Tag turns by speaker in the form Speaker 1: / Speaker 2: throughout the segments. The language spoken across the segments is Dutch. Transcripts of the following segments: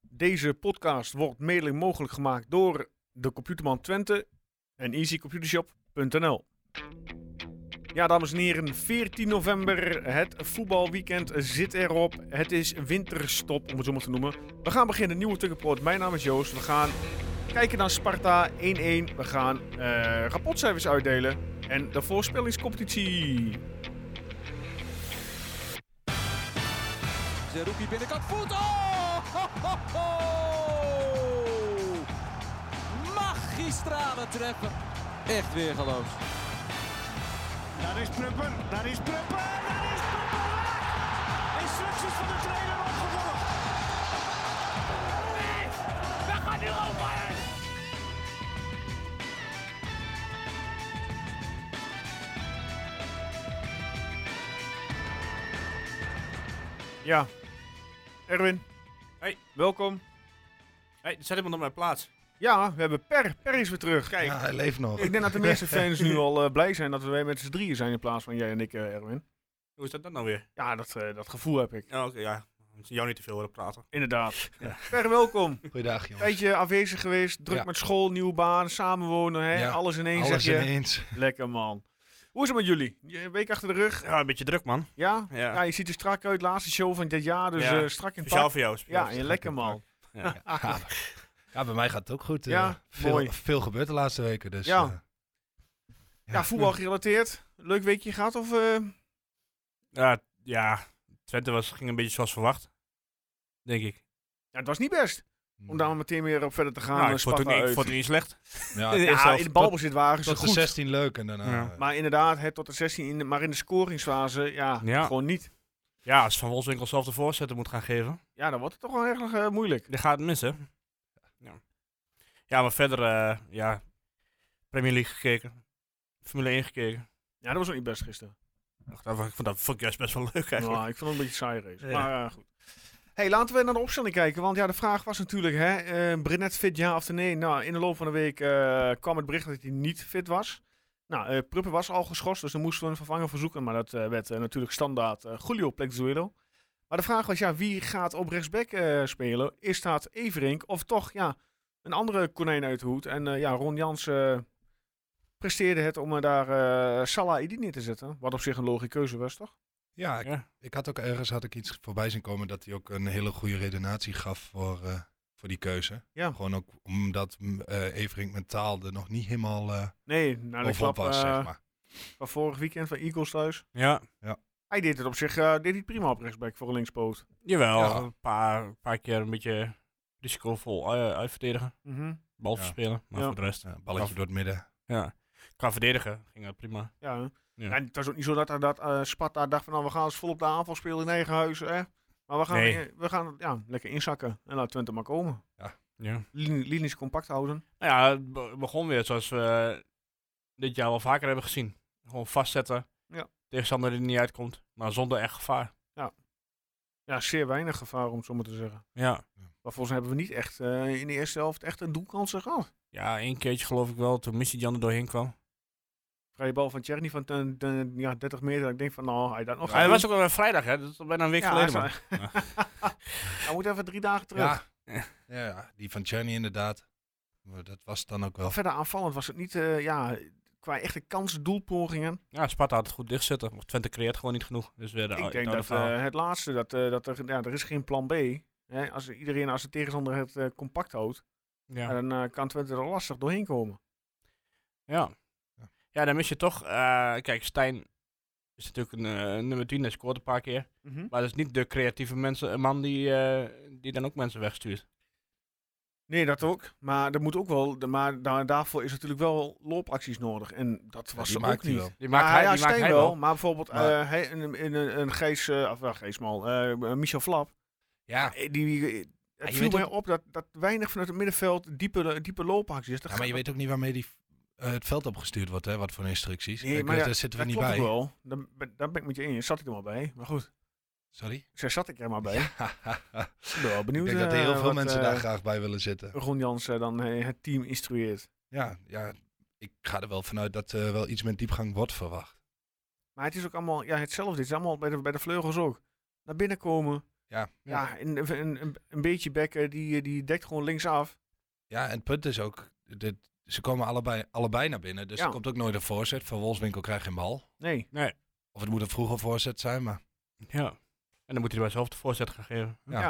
Speaker 1: Deze podcast wordt mede mogelijk gemaakt door de Computerman Twente en easycomputershop.nl. Ja, dames en heren, 14 november. Het voetbalweekend zit erop. Het is winterstop, om het zo maar te noemen. We gaan beginnen, nieuwe Tukkenpoort. Mijn naam is Joost. We gaan kijken naar Sparta 1-1. We gaan eh rapportcijfers uitdelen. En de voorspellingscompetitie.
Speaker 2: Zerouki binnenkant voet. Oh! Ho, ho, ho! Magistrale treffer. Echt weer geloof.
Speaker 3: Daar is Prupper, daar is Prupper, daar is Prupper! Instructies van de trainer opgevolgd. We gaan nu over!
Speaker 1: Ja, Erwin.
Speaker 4: Hey.
Speaker 1: Welkom.
Speaker 4: Hey, er zet iemand op mijn plaats.
Speaker 1: Ja, we hebben Per. Per is weer terug. Kijk.
Speaker 5: Ja, hij leeft nog.
Speaker 1: Ik denk dat de meeste fans nu al eh, blij zijn dat we weer met z'n drieën zijn in plaats van jij en ik, eh, Erwin.
Speaker 4: Hoe is dat dan nou weer?
Speaker 1: Ja, dat, eh, dat gevoel heb ik.
Speaker 4: Ja, Oké, ja. Ik zie jou niet te veel horen praten.
Speaker 1: Inderdaad. Per, welkom.
Speaker 5: Goeiedag, jongens.
Speaker 1: Tijdje afwezig geweest, druk
Speaker 5: Ja.
Speaker 1: met school, nieuwe baan, samenwonen, hè?
Speaker 5: Ja,
Speaker 1: alles in één
Speaker 5: Alles
Speaker 1: zeg je.
Speaker 5: ineens.
Speaker 1: Lekker man. Hoe is het met jullie? Je- Een week achter de rug?
Speaker 4: Ja, een beetje druk, man.
Speaker 1: Ja?
Speaker 4: Ja.
Speaker 1: Ja, je ziet er strak uit, laatste show van dit jaar, dus
Speaker 4: Ja.
Speaker 1: eh, strak in
Speaker 4: Speciaal
Speaker 1: pak.
Speaker 4: voor jou.
Speaker 1: Ja,
Speaker 4: Speciaal.
Speaker 1: je lekker man.
Speaker 4: Ja.
Speaker 5: Ja. Ja, bij mij gaat het ook goed. eh,
Speaker 1: Ja,
Speaker 5: veel,
Speaker 1: mooi.
Speaker 5: veel gebeurd de laatste weken. Dus,
Speaker 1: Ja.
Speaker 5: eh,
Speaker 1: Ja, voetbal gerelateerd. Leuk weekje gehad of... eh,
Speaker 4: Ja, ja, Twente was, ging een beetje zoals verwacht. Denk ik.
Speaker 1: Ja, het was niet best. Om daar maar meteen weer op verder te gaan.
Speaker 4: nou,
Speaker 1: eh,
Speaker 4: ik vond, het
Speaker 1: Sparta
Speaker 4: ook niet, ik
Speaker 1: uit.
Speaker 4: vond het niet slecht.
Speaker 5: Ja,
Speaker 4: de eerste
Speaker 1: Ja,
Speaker 4: helft
Speaker 1: in de balbezit waren ze
Speaker 5: tot de
Speaker 1: goed.
Speaker 5: 16 leuk en daarna...
Speaker 4: Ja.
Speaker 5: eh,
Speaker 1: Maar inderdaad, hè, tot de 16, in de- maar in de scoringsfase, ja,
Speaker 4: Ja.
Speaker 1: gewoon niet.
Speaker 4: Ja, als Van Wolfswinkel zelf de voorzetten moet gaan geven,
Speaker 1: Ja, dan wordt het toch wel erg eh, moeilijk.
Speaker 4: dan gaat het missen. Ja, ja maar verder, eh, ja, Premier League gekeken. Formule 1 gekeken.
Speaker 1: Ja, dat was ook niet best gisteren.
Speaker 4: Ach, dat, vond- ik vond dat vond ik juist best wel leuk eigenlijk.
Speaker 1: Nou, ik vond het een beetje een saai race.
Speaker 4: Ja.
Speaker 1: Maar eh, goed. hey, laten we naar de opstelling kijken. Want ja, de vraag was natuurlijk, hè, eh Brenet fit ja of nee? Nou, in de loop van de week eh, kwam het bericht dat hij niet fit was. Nou, eh Pruppen was al geschorst, dus dan moesten we een vervanger verzoeken. Maar dat eh, werd eh, natuurlijk standaard eh, Julio Plexuelo. Maar de vraag was, ja, wie gaat op rechtsback eh, spelen? Is dat Everink of toch, ja, een andere konijn uit de hoed? En eh, ja, Ron Jans eh, presteerde het om eh, daar eh Salah Edin neer te zetten. Wat op zich een logische keuze was, toch?
Speaker 5: ja, ik,
Speaker 4: Ja.
Speaker 5: ik had ook ergens had ik iets voorbij zien komen dat hij ook een hele goede redenatie gaf voor, eh, voor die keuze.
Speaker 1: Ja.
Speaker 5: Gewoon ook omdat mm, eh Everink mentaal er nog niet helemaal eh
Speaker 1: Nee, na de
Speaker 5: over op
Speaker 1: klap
Speaker 5: was,
Speaker 1: eh,
Speaker 5: zeg maar.
Speaker 1: van vorig weekend van Eagles thuis.
Speaker 4: ja.
Speaker 1: Hij deed het op zich eh, deed hij prima op rechtsback voor een linkspoot.
Speaker 4: Jawel,
Speaker 5: Ja.
Speaker 4: een paar, paar keer een beetje risicovol eh, uitverdedigen.
Speaker 1: Mhm,
Speaker 4: Bal
Speaker 5: Ja.
Speaker 4: verspelen, maar
Speaker 1: Ja.
Speaker 4: voor de rest.
Speaker 5: Ja, balletje door het midden.
Speaker 4: Ja. Qua verdedigen ging dat prima.
Speaker 1: Ja, hè.
Speaker 4: Ja.
Speaker 1: En het was ook niet zo dat, dat eh, Sparta dacht van nou, we gaan eens volop de aanval spelen in eigen huis. Hè? Maar we gaan,
Speaker 4: Nee.
Speaker 1: eh, we gaan ja, lekker inzakken en laat Twente maar komen.
Speaker 4: Ja.
Speaker 1: Lin- Linies compact houden.
Speaker 4: Nou ja, het be- begon weer zoals we dit jaar wel vaker hebben gezien. Gewoon vastzetten.
Speaker 1: Ja.
Speaker 4: Tegenstander die er niet uitkomt, maar zonder echt gevaar.
Speaker 1: Ja, zeer weinig gevaar om het zo maar te zeggen.
Speaker 4: Ja.
Speaker 1: Maar volgens mij hebben we niet echt eh, in de eerste helft echt een doelkansen gehad.
Speaker 4: Ja, één keertje geloof ik wel, toen Missy Jan er doorheen kwam.
Speaker 1: Oh, Vrije bal van Tjerni van ten- ten- ja, 30 meter. Ik denk van nou, hij dat nog.
Speaker 4: Ja, dat was ook wel weer vrijdag, hè? Dat is al bijna een week
Speaker 1: Ja,
Speaker 4: geleden.
Speaker 1: hij
Speaker 4: Man.
Speaker 1: is- Hij moet even drie dagen terug.
Speaker 5: Ja. ja, die van Czerny inderdaad. Maar dat was het dan ook wel.
Speaker 1: Verder aanvallend was het niet, eh, ja, qua echte kansen, doelpogingen.
Speaker 4: Ja, Sparta had het goed dichtzetten. Maar Twente creëert gewoon niet genoeg. Dus weer de
Speaker 1: ik
Speaker 4: oude-
Speaker 1: denk
Speaker 4: oude
Speaker 1: dat
Speaker 4: verhaal.
Speaker 1: eh, het laatste, dat, eh, dat er, ja, er is geen plan B. Hè? Als iedereen, als de tegenstander het eh, compact houdt,
Speaker 4: ja.
Speaker 1: ja, dan eh, kan Twente er lastig doorheen komen.
Speaker 4: Ja.
Speaker 5: Ja.
Speaker 4: Ja, dan mis je toch. eh, kijk, Stijn is natuurlijk een eh, nummer 10, hij scoort een paar keer. Maar dat is niet de creatieve mensen, een man die, eh, die dan ook mensen wegstuurt.
Speaker 1: Nee, dat ook. Maar, er moet ook wel, de- maar da- daarvoor is natuurlijk wel loopacties nodig. En dat was
Speaker 5: die
Speaker 1: er ook
Speaker 5: maakt hij
Speaker 1: niet.
Speaker 5: wel.
Speaker 4: Die maakt
Speaker 1: Ah,
Speaker 4: hij,
Speaker 1: ja,
Speaker 4: die maakt
Speaker 1: Stijn
Speaker 4: hij
Speaker 1: wel,
Speaker 4: wel.
Speaker 1: Maar bijvoorbeeld eh
Speaker 5: Maar-
Speaker 1: hij, een, een, een, een Gijs, eh, of wel Gijs Mal, eh, een Michel Flap.
Speaker 5: Ja,
Speaker 1: eh, Die, eh, het
Speaker 5: je
Speaker 1: viel
Speaker 5: weet
Speaker 1: mij
Speaker 5: ook-
Speaker 1: op dat, dat weinig vanuit het middenveld diepe, diepe loopacties. Dat
Speaker 5: Ja, maar je weet ook niet waarmee die eh, het veld opgestuurd wordt, hè? Wat voor instructies.
Speaker 1: Nee,
Speaker 5: Daar-
Speaker 1: maar ja,
Speaker 5: daar zitten we
Speaker 1: dat
Speaker 5: niet
Speaker 1: klopt
Speaker 5: bij.
Speaker 1: ook wel. Dan ben- Daar ben ik met je eens. Zat ik er maar bij. Maar goed,
Speaker 5: Sorry?
Speaker 1: daar zat ik er maar bij. Ik ben wel
Speaker 5: ik
Speaker 1: benieuwd.
Speaker 5: denk dat er heel
Speaker 1: eh,
Speaker 5: veel
Speaker 1: wat,
Speaker 5: mensen
Speaker 1: eh,
Speaker 5: daar graag bij willen zitten.
Speaker 1: Ron Jans eh, dan eh, het team instrueert.
Speaker 5: Ja, ja, ik ga er wel vanuit dat er wel iets met diepgang wordt verwacht.
Speaker 1: Maar het is ook allemaal ja, hetzelfde. Het is allemaal bij de, bij de vleugels ook. Naar binnen komen,
Speaker 5: Ja. ja.
Speaker 1: Ja, een, een, een, een beetje bekken, die, eh, die dekt gewoon linksaf.
Speaker 5: en het punt is ook, dit, ze komen allebei, allebei naar binnen. Dus
Speaker 1: Ja.
Speaker 5: er komt ook nooit een voorzet. Van Wolfswinkel krijgt geen bal.
Speaker 1: Nee.
Speaker 5: Of het moet een vroege voorzet zijn, maar
Speaker 4: Ja. En dan moet hij bij zelf de voorzet gaan geven.
Speaker 1: Ja.
Speaker 5: Ja.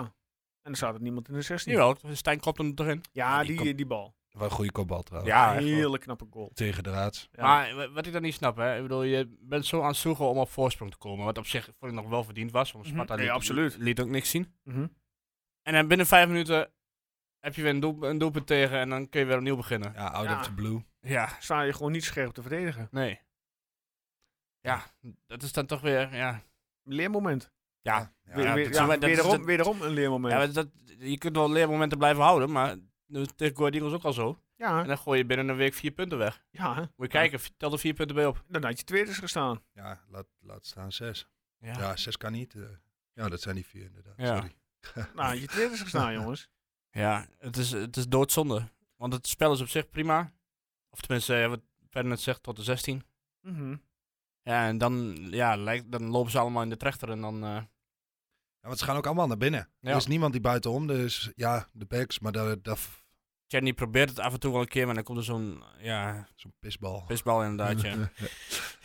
Speaker 1: En er staat er niemand in de 16.
Speaker 4: Jawel, Stijn klopt hem erin.
Speaker 1: Ja,
Speaker 5: die
Speaker 1: die, die,
Speaker 5: komt-
Speaker 1: bal.
Speaker 5: wel een goede kopbal trouwens.
Speaker 4: Ja, echt wel.
Speaker 1: Hele knappe goal.
Speaker 5: Tegen de raads.
Speaker 1: Ja.
Speaker 4: Maar wa- wat ik dan niet snap, hè. Ik bedoel, je bent zo aan het zoeken om op voorsprong te komen. Wat op zich vond ik nog wel verdiend was. Want
Speaker 1: Mhm.
Speaker 4: Sparta
Speaker 1: Nee,
Speaker 4: liet,
Speaker 1: absoluut.
Speaker 4: liet ook niks zien.
Speaker 1: Mhm.
Speaker 4: En dan binnen vijf minuten heb je weer een, doel, een doelpunt tegen. En dan kun je weer opnieuw beginnen.
Speaker 5: Ja, out
Speaker 1: Ja.
Speaker 5: of the blue.
Speaker 4: Ja.
Speaker 1: Sta je gewoon niet scherp te verdedigen.
Speaker 4: Nee. Ja, dat is dan toch weer, ja.
Speaker 1: Leermoment.
Speaker 4: Ja.
Speaker 5: Ja,
Speaker 1: Weer-
Speaker 5: ja,
Speaker 1: weer-
Speaker 5: dat-
Speaker 1: ja,
Speaker 4: maar dat is
Speaker 1: wederom,
Speaker 4: het-
Speaker 1: wederom een leermoment.
Speaker 4: ja
Speaker 1: Ja,
Speaker 4: maar dat, je kunt wel leermomenten blijven houden, maar dat- tegen Go Ahead Eagles ook al zo. En
Speaker 1: ja,
Speaker 4: dan gooi je binnen een week vier punten weg. Moet je kijken, tel er vier punten bij op.
Speaker 1: dan had je tweede gestaan.
Speaker 5: ja, laat, laat staan zes.
Speaker 4: Ja.
Speaker 5: Ja. zes kan niet. eh. ja, dat zijn die vier inderdaad.
Speaker 4: Ja.
Speaker 5: Sorry.
Speaker 1: Nou, had je tweede gestaan, jongens.
Speaker 4: Ja, het is, het is doodzonde. Want het spel is op zich prima. Of tenminste, eh, wat verder net zegt, tot de 16.
Speaker 1: Mhm.
Speaker 4: Ja, en dan, ja, lijkt, dan lopen ze allemaal in de trechter en dan... eh,
Speaker 5: Ja, want ze gaan ook allemaal naar binnen.
Speaker 4: Ja.
Speaker 5: Er is niemand die buitenom. Dus ja, de backs, maar daar, daar,
Speaker 4: Chatney probeert het af en toe wel een keer, maar dan komt er zo'n ja,
Speaker 5: zo'n pisbal.
Speaker 4: pisbal inderdaad. Ja.
Speaker 5: Dus,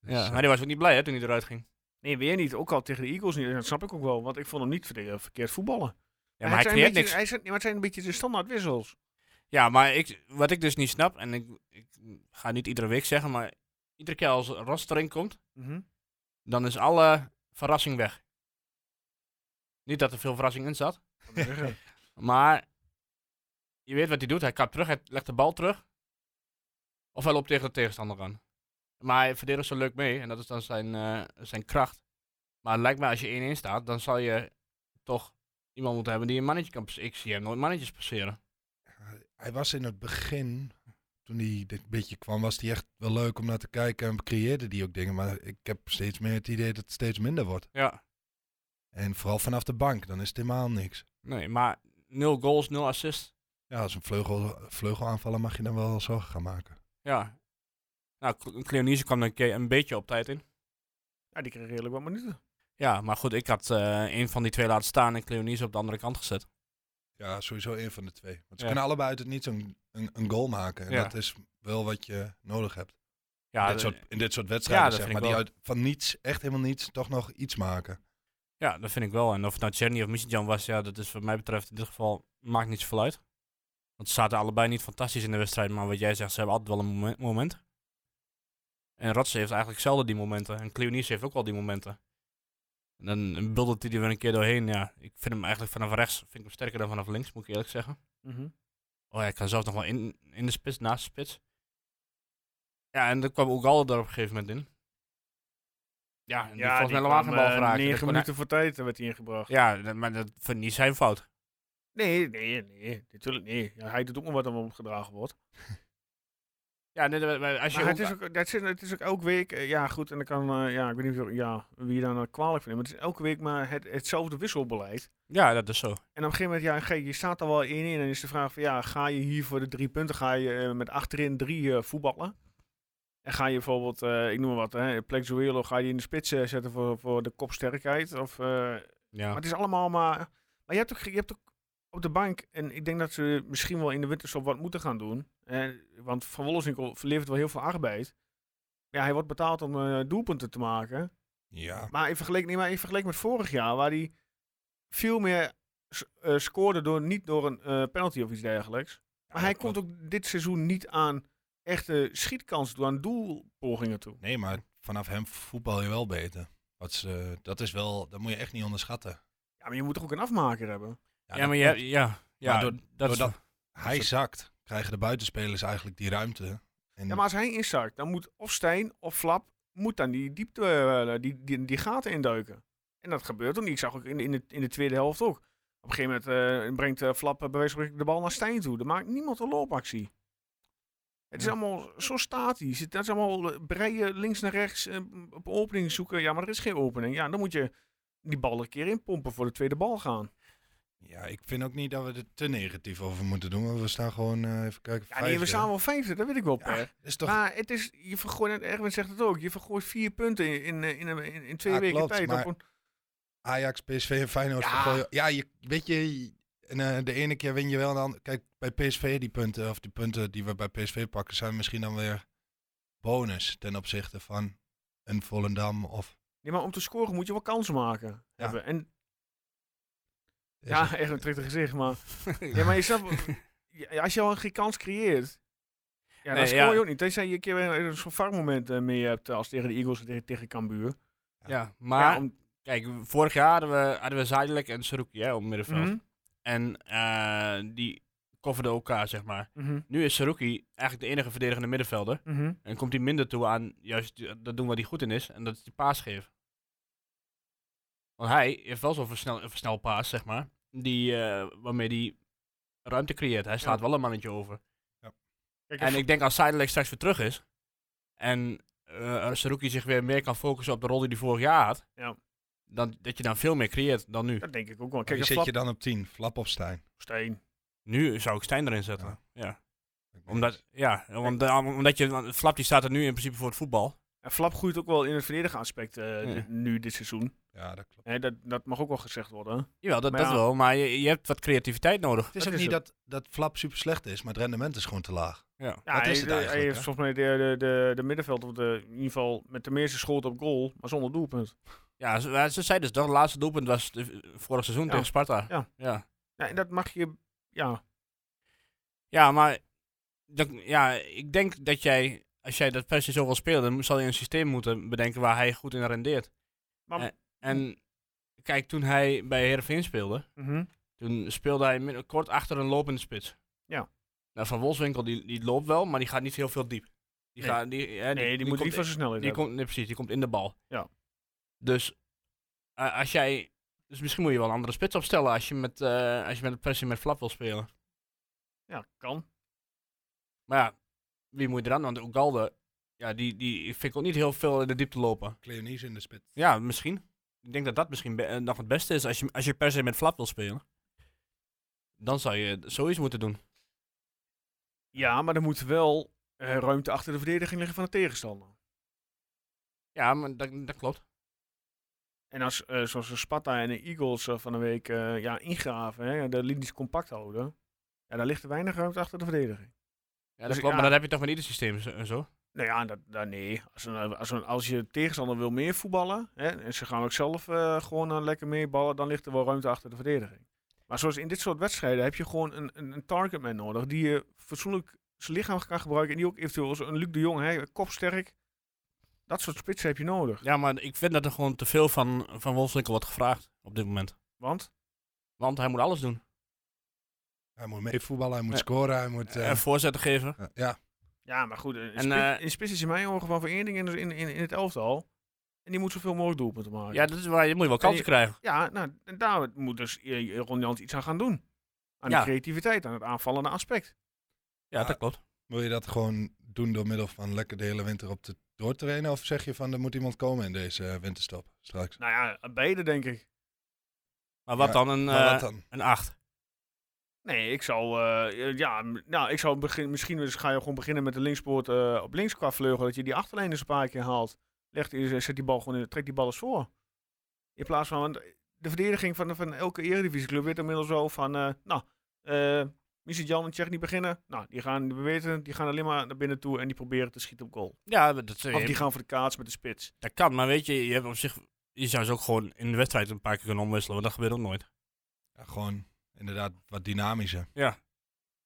Speaker 4: ja,
Speaker 5: eh,
Speaker 4: maar die was ook niet blij hè, toen hij eruit ging.
Speaker 1: Nee, weer niet. Ook al tegen de Eagles niet. Dat snap ik ook wel. Want ik vond hem niet verde- verkeerd voetballen.
Speaker 4: Ja, maar
Speaker 1: het
Speaker 4: hij
Speaker 1: zijn een
Speaker 4: creëert
Speaker 1: beetje-
Speaker 4: niks.
Speaker 1: Hij zijn, nee, maar het zijn een beetje de standaard wissels.
Speaker 4: Ja, maar ik, wat ik dus niet snap, en ik, ik ga niet iedere week zeggen, maar iedere keer als Ras erin komt,
Speaker 1: Mhm.
Speaker 4: dan is alle verrassing weg. Niet dat er veel verrassing in zat,
Speaker 1: Wat moet ik zeggen?
Speaker 4: maar je weet wat hij doet. Hij kapt terug, hij legt de bal terug. Of hij loopt tegen de tegenstander aan. Maar hij verdedigt zo leuk mee, en dat is dan zijn, eh, zijn kracht. Maar lijkt mij, als je 1-1 staat, dan zal je toch iemand moeten hebben die een mannetje kan passeren. Ik zie hem nooit mannetjes passeren.
Speaker 5: Hij was in het begin, toen hij dit beetje kwam, was hij echt wel leuk om naar te kijken. En creëerde die ook dingen. Maar ik heb steeds meer het idee dat het steeds minder wordt.
Speaker 4: Ja,
Speaker 5: En vooral vanaf de bank, dan is het helemaal niks.
Speaker 4: nee, maar nul goals, nul assists.
Speaker 5: Ja, als een vleugel, vleugelaanvaller mag je dan wel zorgen gaan maken.
Speaker 4: Ja. Nou, Cle- Cleonice kwam er een, keer een beetje op tijd in.
Speaker 1: Ja, die kreeg redelijk wat minuten.
Speaker 4: Ja, maar goed, ik had eh een van die twee laten staan en Cleonice op de andere kant gezet.
Speaker 5: Ja, sowieso één van de twee. Want ze
Speaker 4: Ja.
Speaker 5: kunnen allebei uit het niets een, een, een goal maken. En
Speaker 4: Ja.
Speaker 5: dat is wel wat je nodig hebt.
Speaker 4: Ja,
Speaker 5: dit
Speaker 4: dat-
Speaker 5: soort, in dit soort wedstrijden,
Speaker 4: Ja, dat
Speaker 5: zeg
Speaker 4: vind
Speaker 5: maar.
Speaker 4: ik
Speaker 5: Die uit, van niets, echt helemaal niets, toch nog iets maken.
Speaker 4: ja, dat vind ik wel. En of het nou Czerny of Misjan was, ja, dat is wat mij betreft in dit geval maakt niets veel uit. Want ze zaten allebei niet fantastisch in de wedstrijd, maar wat jij zegt, ze hebben altijd wel een momen- moment. En Radse heeft eigenlijk zelden die momenten. En Cleonice heeft ook wel die momenten. En dan buldert hij er weer een keer doorheen. Ja, ik vind hem eigenlijk vanaf rechts vind ik hem sterker dan vanaf links, moet ik eerlijk zeggen.
Speaker 1: Mhm.
Speaker 4: Oh ja, ik kan zelfs nog wel in, in de spits, naast de spits. Ja, en dan kwam ook al er op een gegeven moment in. Ja, en die volgens mij helemaal geen bal
Speaker 1: kwam, eh,
Speaker 4: geraakt. Dat
Speaker 1: Negen
Speaker 4: kon hij-
Speaker 1: minuten voor tijd eh, werd hij ingebracht.
Speaker 4: Ja, dat- maar dat vind ik niet zijn fout.
Speaker 1: Nee, nee, nee. Natuurlijk nee. Ja, hij doet ook maar wat om opgedragen wordt.
Speaker 4: Ja, nee, dat- maar als je
Speaker 1: Maar het
Speaker 4: ook-
Speaker 1: is, ook, het, is, het is ook elke week, eh, ja goed, en dan kan, eh, ja, ik weet niet of, ja, wie je dan eh, kwalijk vindt, maar het is elke week maar het, hetzelfde wisselbeleid.
Speaker 4: ja, dat is zo.
Speaker 1: En op een gegeven moment, ja, ge- je staat al wel 1-1 en dan is de vraag van, ja, ga je hier voor de drie punten, ga je eh, met achterin drie eh, voetballen? En ga je bijvoorbeeld, eh, ik noem maar wat, hè, Plexuelo, ga je die in de spits eh, zetten voor, voor de kopsterkheid? Of, eh,
Speaker 4: Ja.
Speaker 1: maar het is allemaal maar. Maar je hebt, ook, je hebt ook op de bank. En ik denk dat ze misschien wel in de winterstop wat moeten gaan doen. Eh, want Van Wolfswinkel levert wel heel veel arbeid. Ja, hij wordt betaald om eh, doelpunten te maken.
Speaker 5: Ja.
Speaker 1: Maar in vergelijking, nee, maar in vergelijking met vorig jaar, waar hij veel meer s- eh, scoorde door, niet door een eh, penalty of iets dergelijks. Maar hij komt ook dit seizoen niet aan echte schietkansen toe, aan doelpogingen toe.
Speaker 5: Nee, maar vanaf hem voetbal je wel beter. Wat ze, dat is wel, dat moet je echt niet onderschatten.
Speaker 1: Ja, maar je moet toch ook een afmaker hebben?
Speaker 4: ja,
Speaker 5: dat
Speaker 4: maar
Speaker 5: klopt.
Speaker 4: je, ja, ja,
Speaker 5: Maar door-
Speaker 4: dat is,
Speaker 5: doordat- Hij
Speaker 4: Zo-
Speaker 5: zakt, krijgen de buitenspelers eigenlijk die ruimte. En
Speaker 1: Ja, maar als hij inzakt, dan moet of Stijn of Flap moet dan die diepte, eh, die, die, die gaten induiken. En dat gebeurt ook niet. Ik zag ook in, de- in, de, in de tweede helft ook. Op een gegeven moment eh, brengt eh, Flap eh, bij wijze van spreken de bal naar Stijn toe. Dan maakt niemand een loopactie. Het is allemaal zo statisch. Het dat is allemaal eh, breien links naar rechts, eh, op opening zoeken. Ja, maar er is geen opening. Ja, dan moet je die bal er een keer inpompen voor de tweede bal gaan.
Speaker 5: Ja, ik vind ook niet dat we er te negatief over moeten doen. Want we staan gewoon, eh, even kijken,
Speaker 1: Ja, nee, we
Speaker 5: vijfde.
Speaker 1: staan wel vijfde, dat weet ik wel,
Speaker 5: Ja,
Speaker 1: Per.
Speaker 5: dat is toch...
Speaker 1: Maar het is, je vergooit, en Erwin zegt het ook, je vergooit vier punten in, in, in, in, in twee
Speaker 5: Ja,
Speaker 1: weken
Speaker 5: klopt,
Speaker 1: tijd. op
Speaker 5: maar
Speaker 1: een,
Speaker 5: Ajax, PSV en Feyenoord
Speaker 1: Ja.
Speaker 5: vergooien. Ja, je, weet je, en, eh, de ene keer win je wel, en dan kijk bij PSV die punten of die punten die we bij PSV pakken zijn misschien dan weer bonus ten opzichte van een Volendam of
Speaker 1: Nee, maar om te scoren moet je wel kansen maken. Hebben. En
Speaker 5: Is
Speaker 1: ja,
Speaker 5: het-
Speaker 1: echt een trikte gezicht, maar. ja, maar je snapt, ja, als je al geen kans creëert, ja, dan
Speaker 4: Nee,
Speaker 1: scoor
Speaker 4: ja.
Speaker 1: je ook niet. Tenzij je een keer weer een- zo'n varmoment eh, mee hebt als tegen de Eagles en tegen, tegen Cambuur.
Speaker 4: Ja, maar
Speaker 1: ja, om-
Speaker 4: kijk, vorig jaar hadden we, hadden we Zijdelijk en Saruki hè, op middenveld.
Speaker 1: Mhm,
Speaker 4: En eh, die coverden elkaar, zeg maar.
Speaker 1: mhm,
Speaker 4: Nu is Saruki eigenlijk de enige verdedigende middenvelder.
Speaker 1: mhm.
Speaker 4: En komt hij minder toe aan juist die- dat doen waar hij goed in is. En dat is die paas geven. Want hij heeft wel zo'n versnel, een versnelpaas, zeg maar. Die, eh, waarmee hij ruimte creëert. Hij slaat
Speaker 1: Ja.
Speaker 4: wel een mannetje over.
Speaker 1: Kijk,
Speaker 4: En ik denk als Zijdelijk straks weer terug is. En eh Saruki zich weer meer kan focussen op de rol die hij vorig jaar had.
Speaker 1: Ja.
Speaker 4: Dan, dat je dan veel meer creëert dan nu.
Speaker 1: dat denk ik ook wel.
Speaker 5: Wie
Speaker 1: Kijk, een
Speaker 5: zit
Speaker 1: flap
Speaker 5: je dan op 10? Flap of Stijn?
Speaker 1: steen.
Speaker 4: Nu zou ik Stijn erin zetten.
Speaker 5: Ja.
Speaker 4: ja. Omdat, ja, want, eh, omdat je, want Flap die staat er nu in principe voor het voetbal.
Speaker 1: En flap groeit ook wel in het verdedigende aspect eh,
Speaker 4: Ja.
Speaker 1: dit- nu dit seizoen.
Speaker 5: Ja, dat klopt.
Speaker 1: Hè, dat, dat mag ook wel gezegd worden.
Speaker 4: Jawel, dat,
Speaker 1: Maar
Speaker 4: dat
Speaker 1: ja.
Speaker 4: wel, maar je, je hebt wat creativiteit nodig.
Speaker 5: Het is
Speaker 1: Dat
Speaker 5: ook
Speaker 1: is
Speaker 5: niet dat, dat Flap super slecht is, maar het rendement is gewoon te laag.
Speaker 4: Ja.
Speaker 1: Ja,
Speaker 5: Dat
Speaker 1: hij,
Speaker 5: is het
Speaker 1: hij
Speaker 5: eigenlijk,
Speaker 1: heeft
Speaker 5: hè?
Speaker 1: volgens mij de, de, de, de middenveld, of de, in ieder geval met de meeste schoten op goal, maar zonder doelpunt.
Speaker 4: Ja, ze, maar ze zei dus dat het laatste doelpunt was eh, vorig seizoen
Speaker 1: Ja.
Speaker 4: tegen Sparta.
Speaker 1: Ja.
Speaker 4: ja.
Speaker 1: Ja, en dat mag je. Ja,
Speaker 4: Ja, maar dat, ja, ik denk dat jij, als jij dat per se zo wil spelen, dan zal je een systeem moeten bedenken waar hij goed in rendeert.
Speaker 1: maar.
Speaker 4: Eh. En kijk, toen hij bij Heerenveen speelde,
Speaker 1: mhm.
Speaker 4: Toen speelde hij min- kort achter een lopende spits.
Speaker 1: Ja.
Speaker 4: Nou, van Wolfswinkel die, die loopt wel, maar die gaat niet heel veel diep. Die
Speaker 1: Nee.
Speaker 4: gaat, die, hè,
Speaker 1: Nee, die, moet
Speaker 4: komt,
Speaker 1: liever zo snel in.
Speaker 4: die komt, nee, precies, die komt in de bal.
Speaker 1: Ja.
Speaker 4: Dus eh, als jij, dus misschien moet je wel een andere spits opstellen als je met, eh, als je met de pressie met flap wil spelen.
Speaker 1: Ja, kan.
Speaker 4: Maar ja, wie moet je er dan? Want Ugalde, ja, die, die vind ik ook niet heel veel in de diepte lopen.
Speaker 5: Cleonice in de spits.
Speaker 4: Ja, misschien. Ik denk dat dat misschien be- eh, nog het beste is als je, als je per se met flap wil spelen. Dan zou je zoiets moeten doen.
Speaker 1: Ja, maar er moet wel eh, ruimte achter de verdediging liggen van de tegenstander.
Speaker 4: Ja, maar dat, dat klopt.
Speaker 1: En als, eh, zoals de Sparta en de Eagles eh, van de week eh, ja, ingraven, hè, de linies compact houden. Ja, daar ligt er weinig ruimte achter de verdediging.
Speaker 4: Ja, dat
Speaker 1: Dus,
Speaker 4: klopt,
Speaker 1: ja.
Speaker 4: maar dat heb je toch met ieder systeem zo- en zo?
Speaker 1: Nou ja, dat, dat- nee. Als, een, als, een, als je tegenstander wil meer voetballen, hè, en ze gaan ook zelf eh, gewoon eh, lekker meeballen, dan ligt er wel ruimte achter de verdediging. Maar zoals in dit soort wedstrijden heb je gewoon een, een, een targetman nodig die je fatsoenlijk zijn lichaam kan gebruiken. En die ook eventueel als een Luc de Jong, hè, kopsterk. Dat soort spitsen heb je nodig.
Speaker 4: Ja, maar ik vind dat er gewoon te veel van, van Wolfswinkel wordt gevraagd op dit moment.
Speaker 1: Want
Speaker 4: Want hij moet alles doen.
Speaker 5: Hij moet mee voetballen, hij moet
Speaker 4: Ja.
Speaker 5: scoren, hij moet... eh,
Speaker 4: En voorzetten geven.
Speaker 5: eh, ja,
Speaker 1: Ja, maar goed, een,
Speaker 4: En,
Speaker 1: spits,
Speaker 4: eh,
Speaker 1: een spits is in mijn ogen wel voor één ding in, in, in, in het elftal. En die moet zoveel mogelijk doelpunten maken.
Speaker 4: Ja, dat is waar, je moet je wel
Speaker 1: En
Speaker 4: kansen
Speaker 1: je-
Speaker 4: krijgen.
Speaker 1: ja nou, en daar moet dus eh, Ron Jans iets aan gaan doen. Aan
Speaker 4: Ja.
Speaker 1: de creativiteit, aan het aanvallende aspect.
Speaker 4: Ja,
Speaker 5: Ja.
Speaker 4: dat klopt.
Speaker 5: wil je dat gewoon doen door middel van lekker de hele winter op te door te trainen? Of zeg je van, er moet iemand komen in deze eh, winterstop straks?
Speaker 1: Nou ja, beide denk ik.
Speaker 4: Maar wat
Speaker 5: Ja,
Speaker 4: dan? Een,
Speaker 5: maar
Speaker 4: eh
Speaker 5: wat dan?
Speaker 4: een 8.
Speaker 1: Nee, ik zou, eh, eh, ja, m- nou, ik zou begin, misschien dus ga je gewoon beginnen met de linkspoort eh, op links qua vleugel. Dat je die achterlijn eens een paar keer haalt. Legt, die- zet die bal gewoon in, trek die bal eens voor. In plaats van, want de verdediging van, van elke eredivisieclub weet inmiddels zo van, eh, nou, eh Missy Jan en Tsjech niet beginnen. Nou, die gaan, we weten, die gaan alleen maar naar binnen toe en die proberen te schieten op goal.
Speaker 4: Ja, dat, eh,
Speaker 1: Of die gaan voor de kaats met de spits.
Speaker 4: dat kan. Maar weet je, je hebt op zich... Je zou ze ook gewoon in de wedstrijd een paar keer kunnen omwisselen, want dat gebeurt ook nooit.
Speaker 5: Ja, gewoon inderdaad wat dynamischer.
Speaker 1: Ja,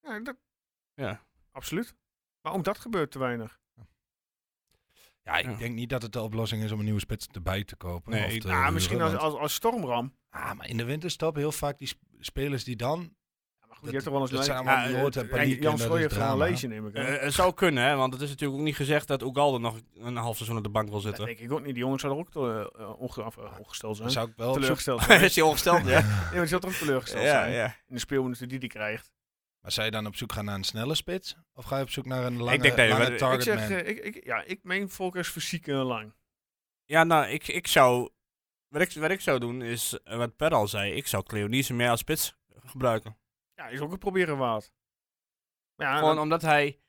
Speaker 1: dat,
Speaker 4: Ja.
Speaker 1: absoluut. Maar ook dat gebeurt te weinig.
Speaker 5: Ja, ik
Speaker 4: Ja.
Speaker 5: denk niet dat het de oplossing is om een nieuwe spits erbij te kopen.
Speaker 4: Nee,
Speaker 5: of
Speaker 4: ik- ah,
Speaker 5: te
Speaker 1: Nou, misschien als,
Speaker 5: huren, want-
Speaker 1: als, als stormram.
Speaker 5: Ah, maar in de winterstop heel vaak die sp- spelers die dan...
Speaker 1: Ja, maar goed,
Speaker 5: Dat-
Speaker 1: je hebt toch wel eens
Speaker 5: dat zijn
Speaker 1: lijn-
Speaker 5: allemaal
Speaker 4: Ja,
Speaker 5: die hoort en
Speaker 4: eh,
Speaker 5: paniek
Speaker 1: Kijk, Jan
Speaker 5: en dat
Speaker 1: Strooijer
Speaker 5: is
Speaker 1: heeft een
Speaker 5: drama.
Speaker 1: lijstje neem ik aan.
Speaker 4: Eh, het zou kunnen, hè, want het is natuurlijk ook niet gezegd dat Ugalde nog een half seizoen op de bank wil
Speaker 1: dat
Speaker 4: zitten.
Speaker 1: denk ik ook niet. Die jongens zouden ook te- eh, onge- of, eh, ongesteld zijn.
Speaker 5: Dan zou ik wel op zoek-
Speaker 1: teleurgesteld zijn.
Speaker 4: is hij ongesteld, ja?
Speaker 1: Nee, maar die zou toch ook teleurgesteld
Speaker 4: ja,
Speaker 1: zijn.
Speaker 4: ja.
Speaker 1: In de speelminuten die die krijgt.
Speaker 5: Maar zou je dan op zoek gaan naar een snelle spits? Of ga je op zoek naar een lange,
Speaker 4: denk dat je-
Speaker 5: lange
Speaker 4: ik
Speaker 5: targetman?
Speaker 1: Ik zeg, eh, ik, ik, ja, ik meen Volkers fysiek eh, lang.
Speaker 4: Ja, nou, ik, ik zou. Wat ik, wat ik zou doen is, eh, wat Per al zei, ik zou Cleonice meer als spits gebruiken.
Speaker 1: Ja, is ook het proberen waard. Maar ja,
Speaker 4: Gewoon
Speaker 1: dan-
Speaker 4: omdat hij.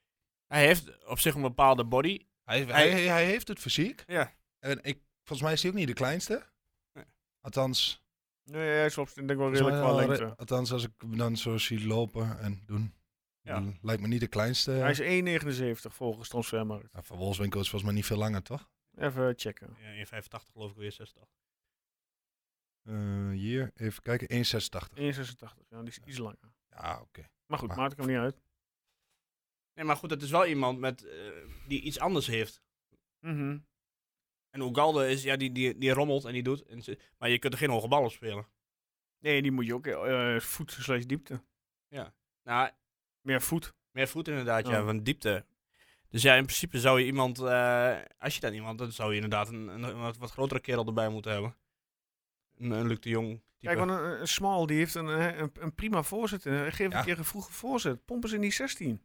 Speaker 4: Hij heeft op zich een bepaalde body.
Speaker 5: Hij, hij, hij heeft het fysiek.
Speaker 4: Ja.
Speaker 5: En ik, volgens mij is hij ook niet de kleinste.
Speaker 4: Nee.
Speaker 5: Althans,
Speaker 1: Nee, hij slopt denk ik wel redelijk
Speaker 5: zo-
Speaker 1: qua
Speaker 5: re-
Speaker 1: lengte.
Speaker 5: althans, als ik hem dan zo zie lopen en doen,
Speaker 1: Ja.
Speaker 5: dan lijkt me niet de kleinste.
Speaker 1: Hij is 1,79 volgens transfermarkt.
Speaker 5: Nou, van Wolfswinkel is volgens mij niet veel langer, toch?
Speaker 1: Even checken.
Speaker 4: Ja, 1,85 geloof ik weer 60.
Speaker 5: Eh, hier, even kijken, 1,86.
Speaker 1: 1,86. Ja, die is iets langer.
Speaker 5: Ja, oké.
Speaker 1: Maar goed,
Speaker 5: Maar-
Speaker 1: maakt hem niet uit.
Speaker 4: Nee, maar goed, dat is wel iemand met, eh, die iets anders heeft.
Speaker 1: Mhm.
Speaker 4: En Ugalde is, ja, die, die, die rommelt en die doet. En ze- maar je kunt er geen hoge bal op spelen.
Speaker 1: Nee, die moet je ook eh voet slash diepte.
Speaker 4: Nou,
Speaker 1: Meer voet.
Speaker 4: Meer voet inderdaad, ja,
Speaker 1: Oh.
Speaker 4: van diepte. Dus ja, in principe zou je iemand, eh, als je dan iemand, dan zou je inderdaad een, een, een wat, wat grotere kerel erbij moeten hebben. Een, een Luc de Jong. Type.
Speaker 1: Kijk, want een, een Smal die heeft een, eh, een, een prima voorzet. Eh, Geef
Speaker 5: Ja.
Speaker 1: een keer een vroege voorzet. Pompen ze in die 16.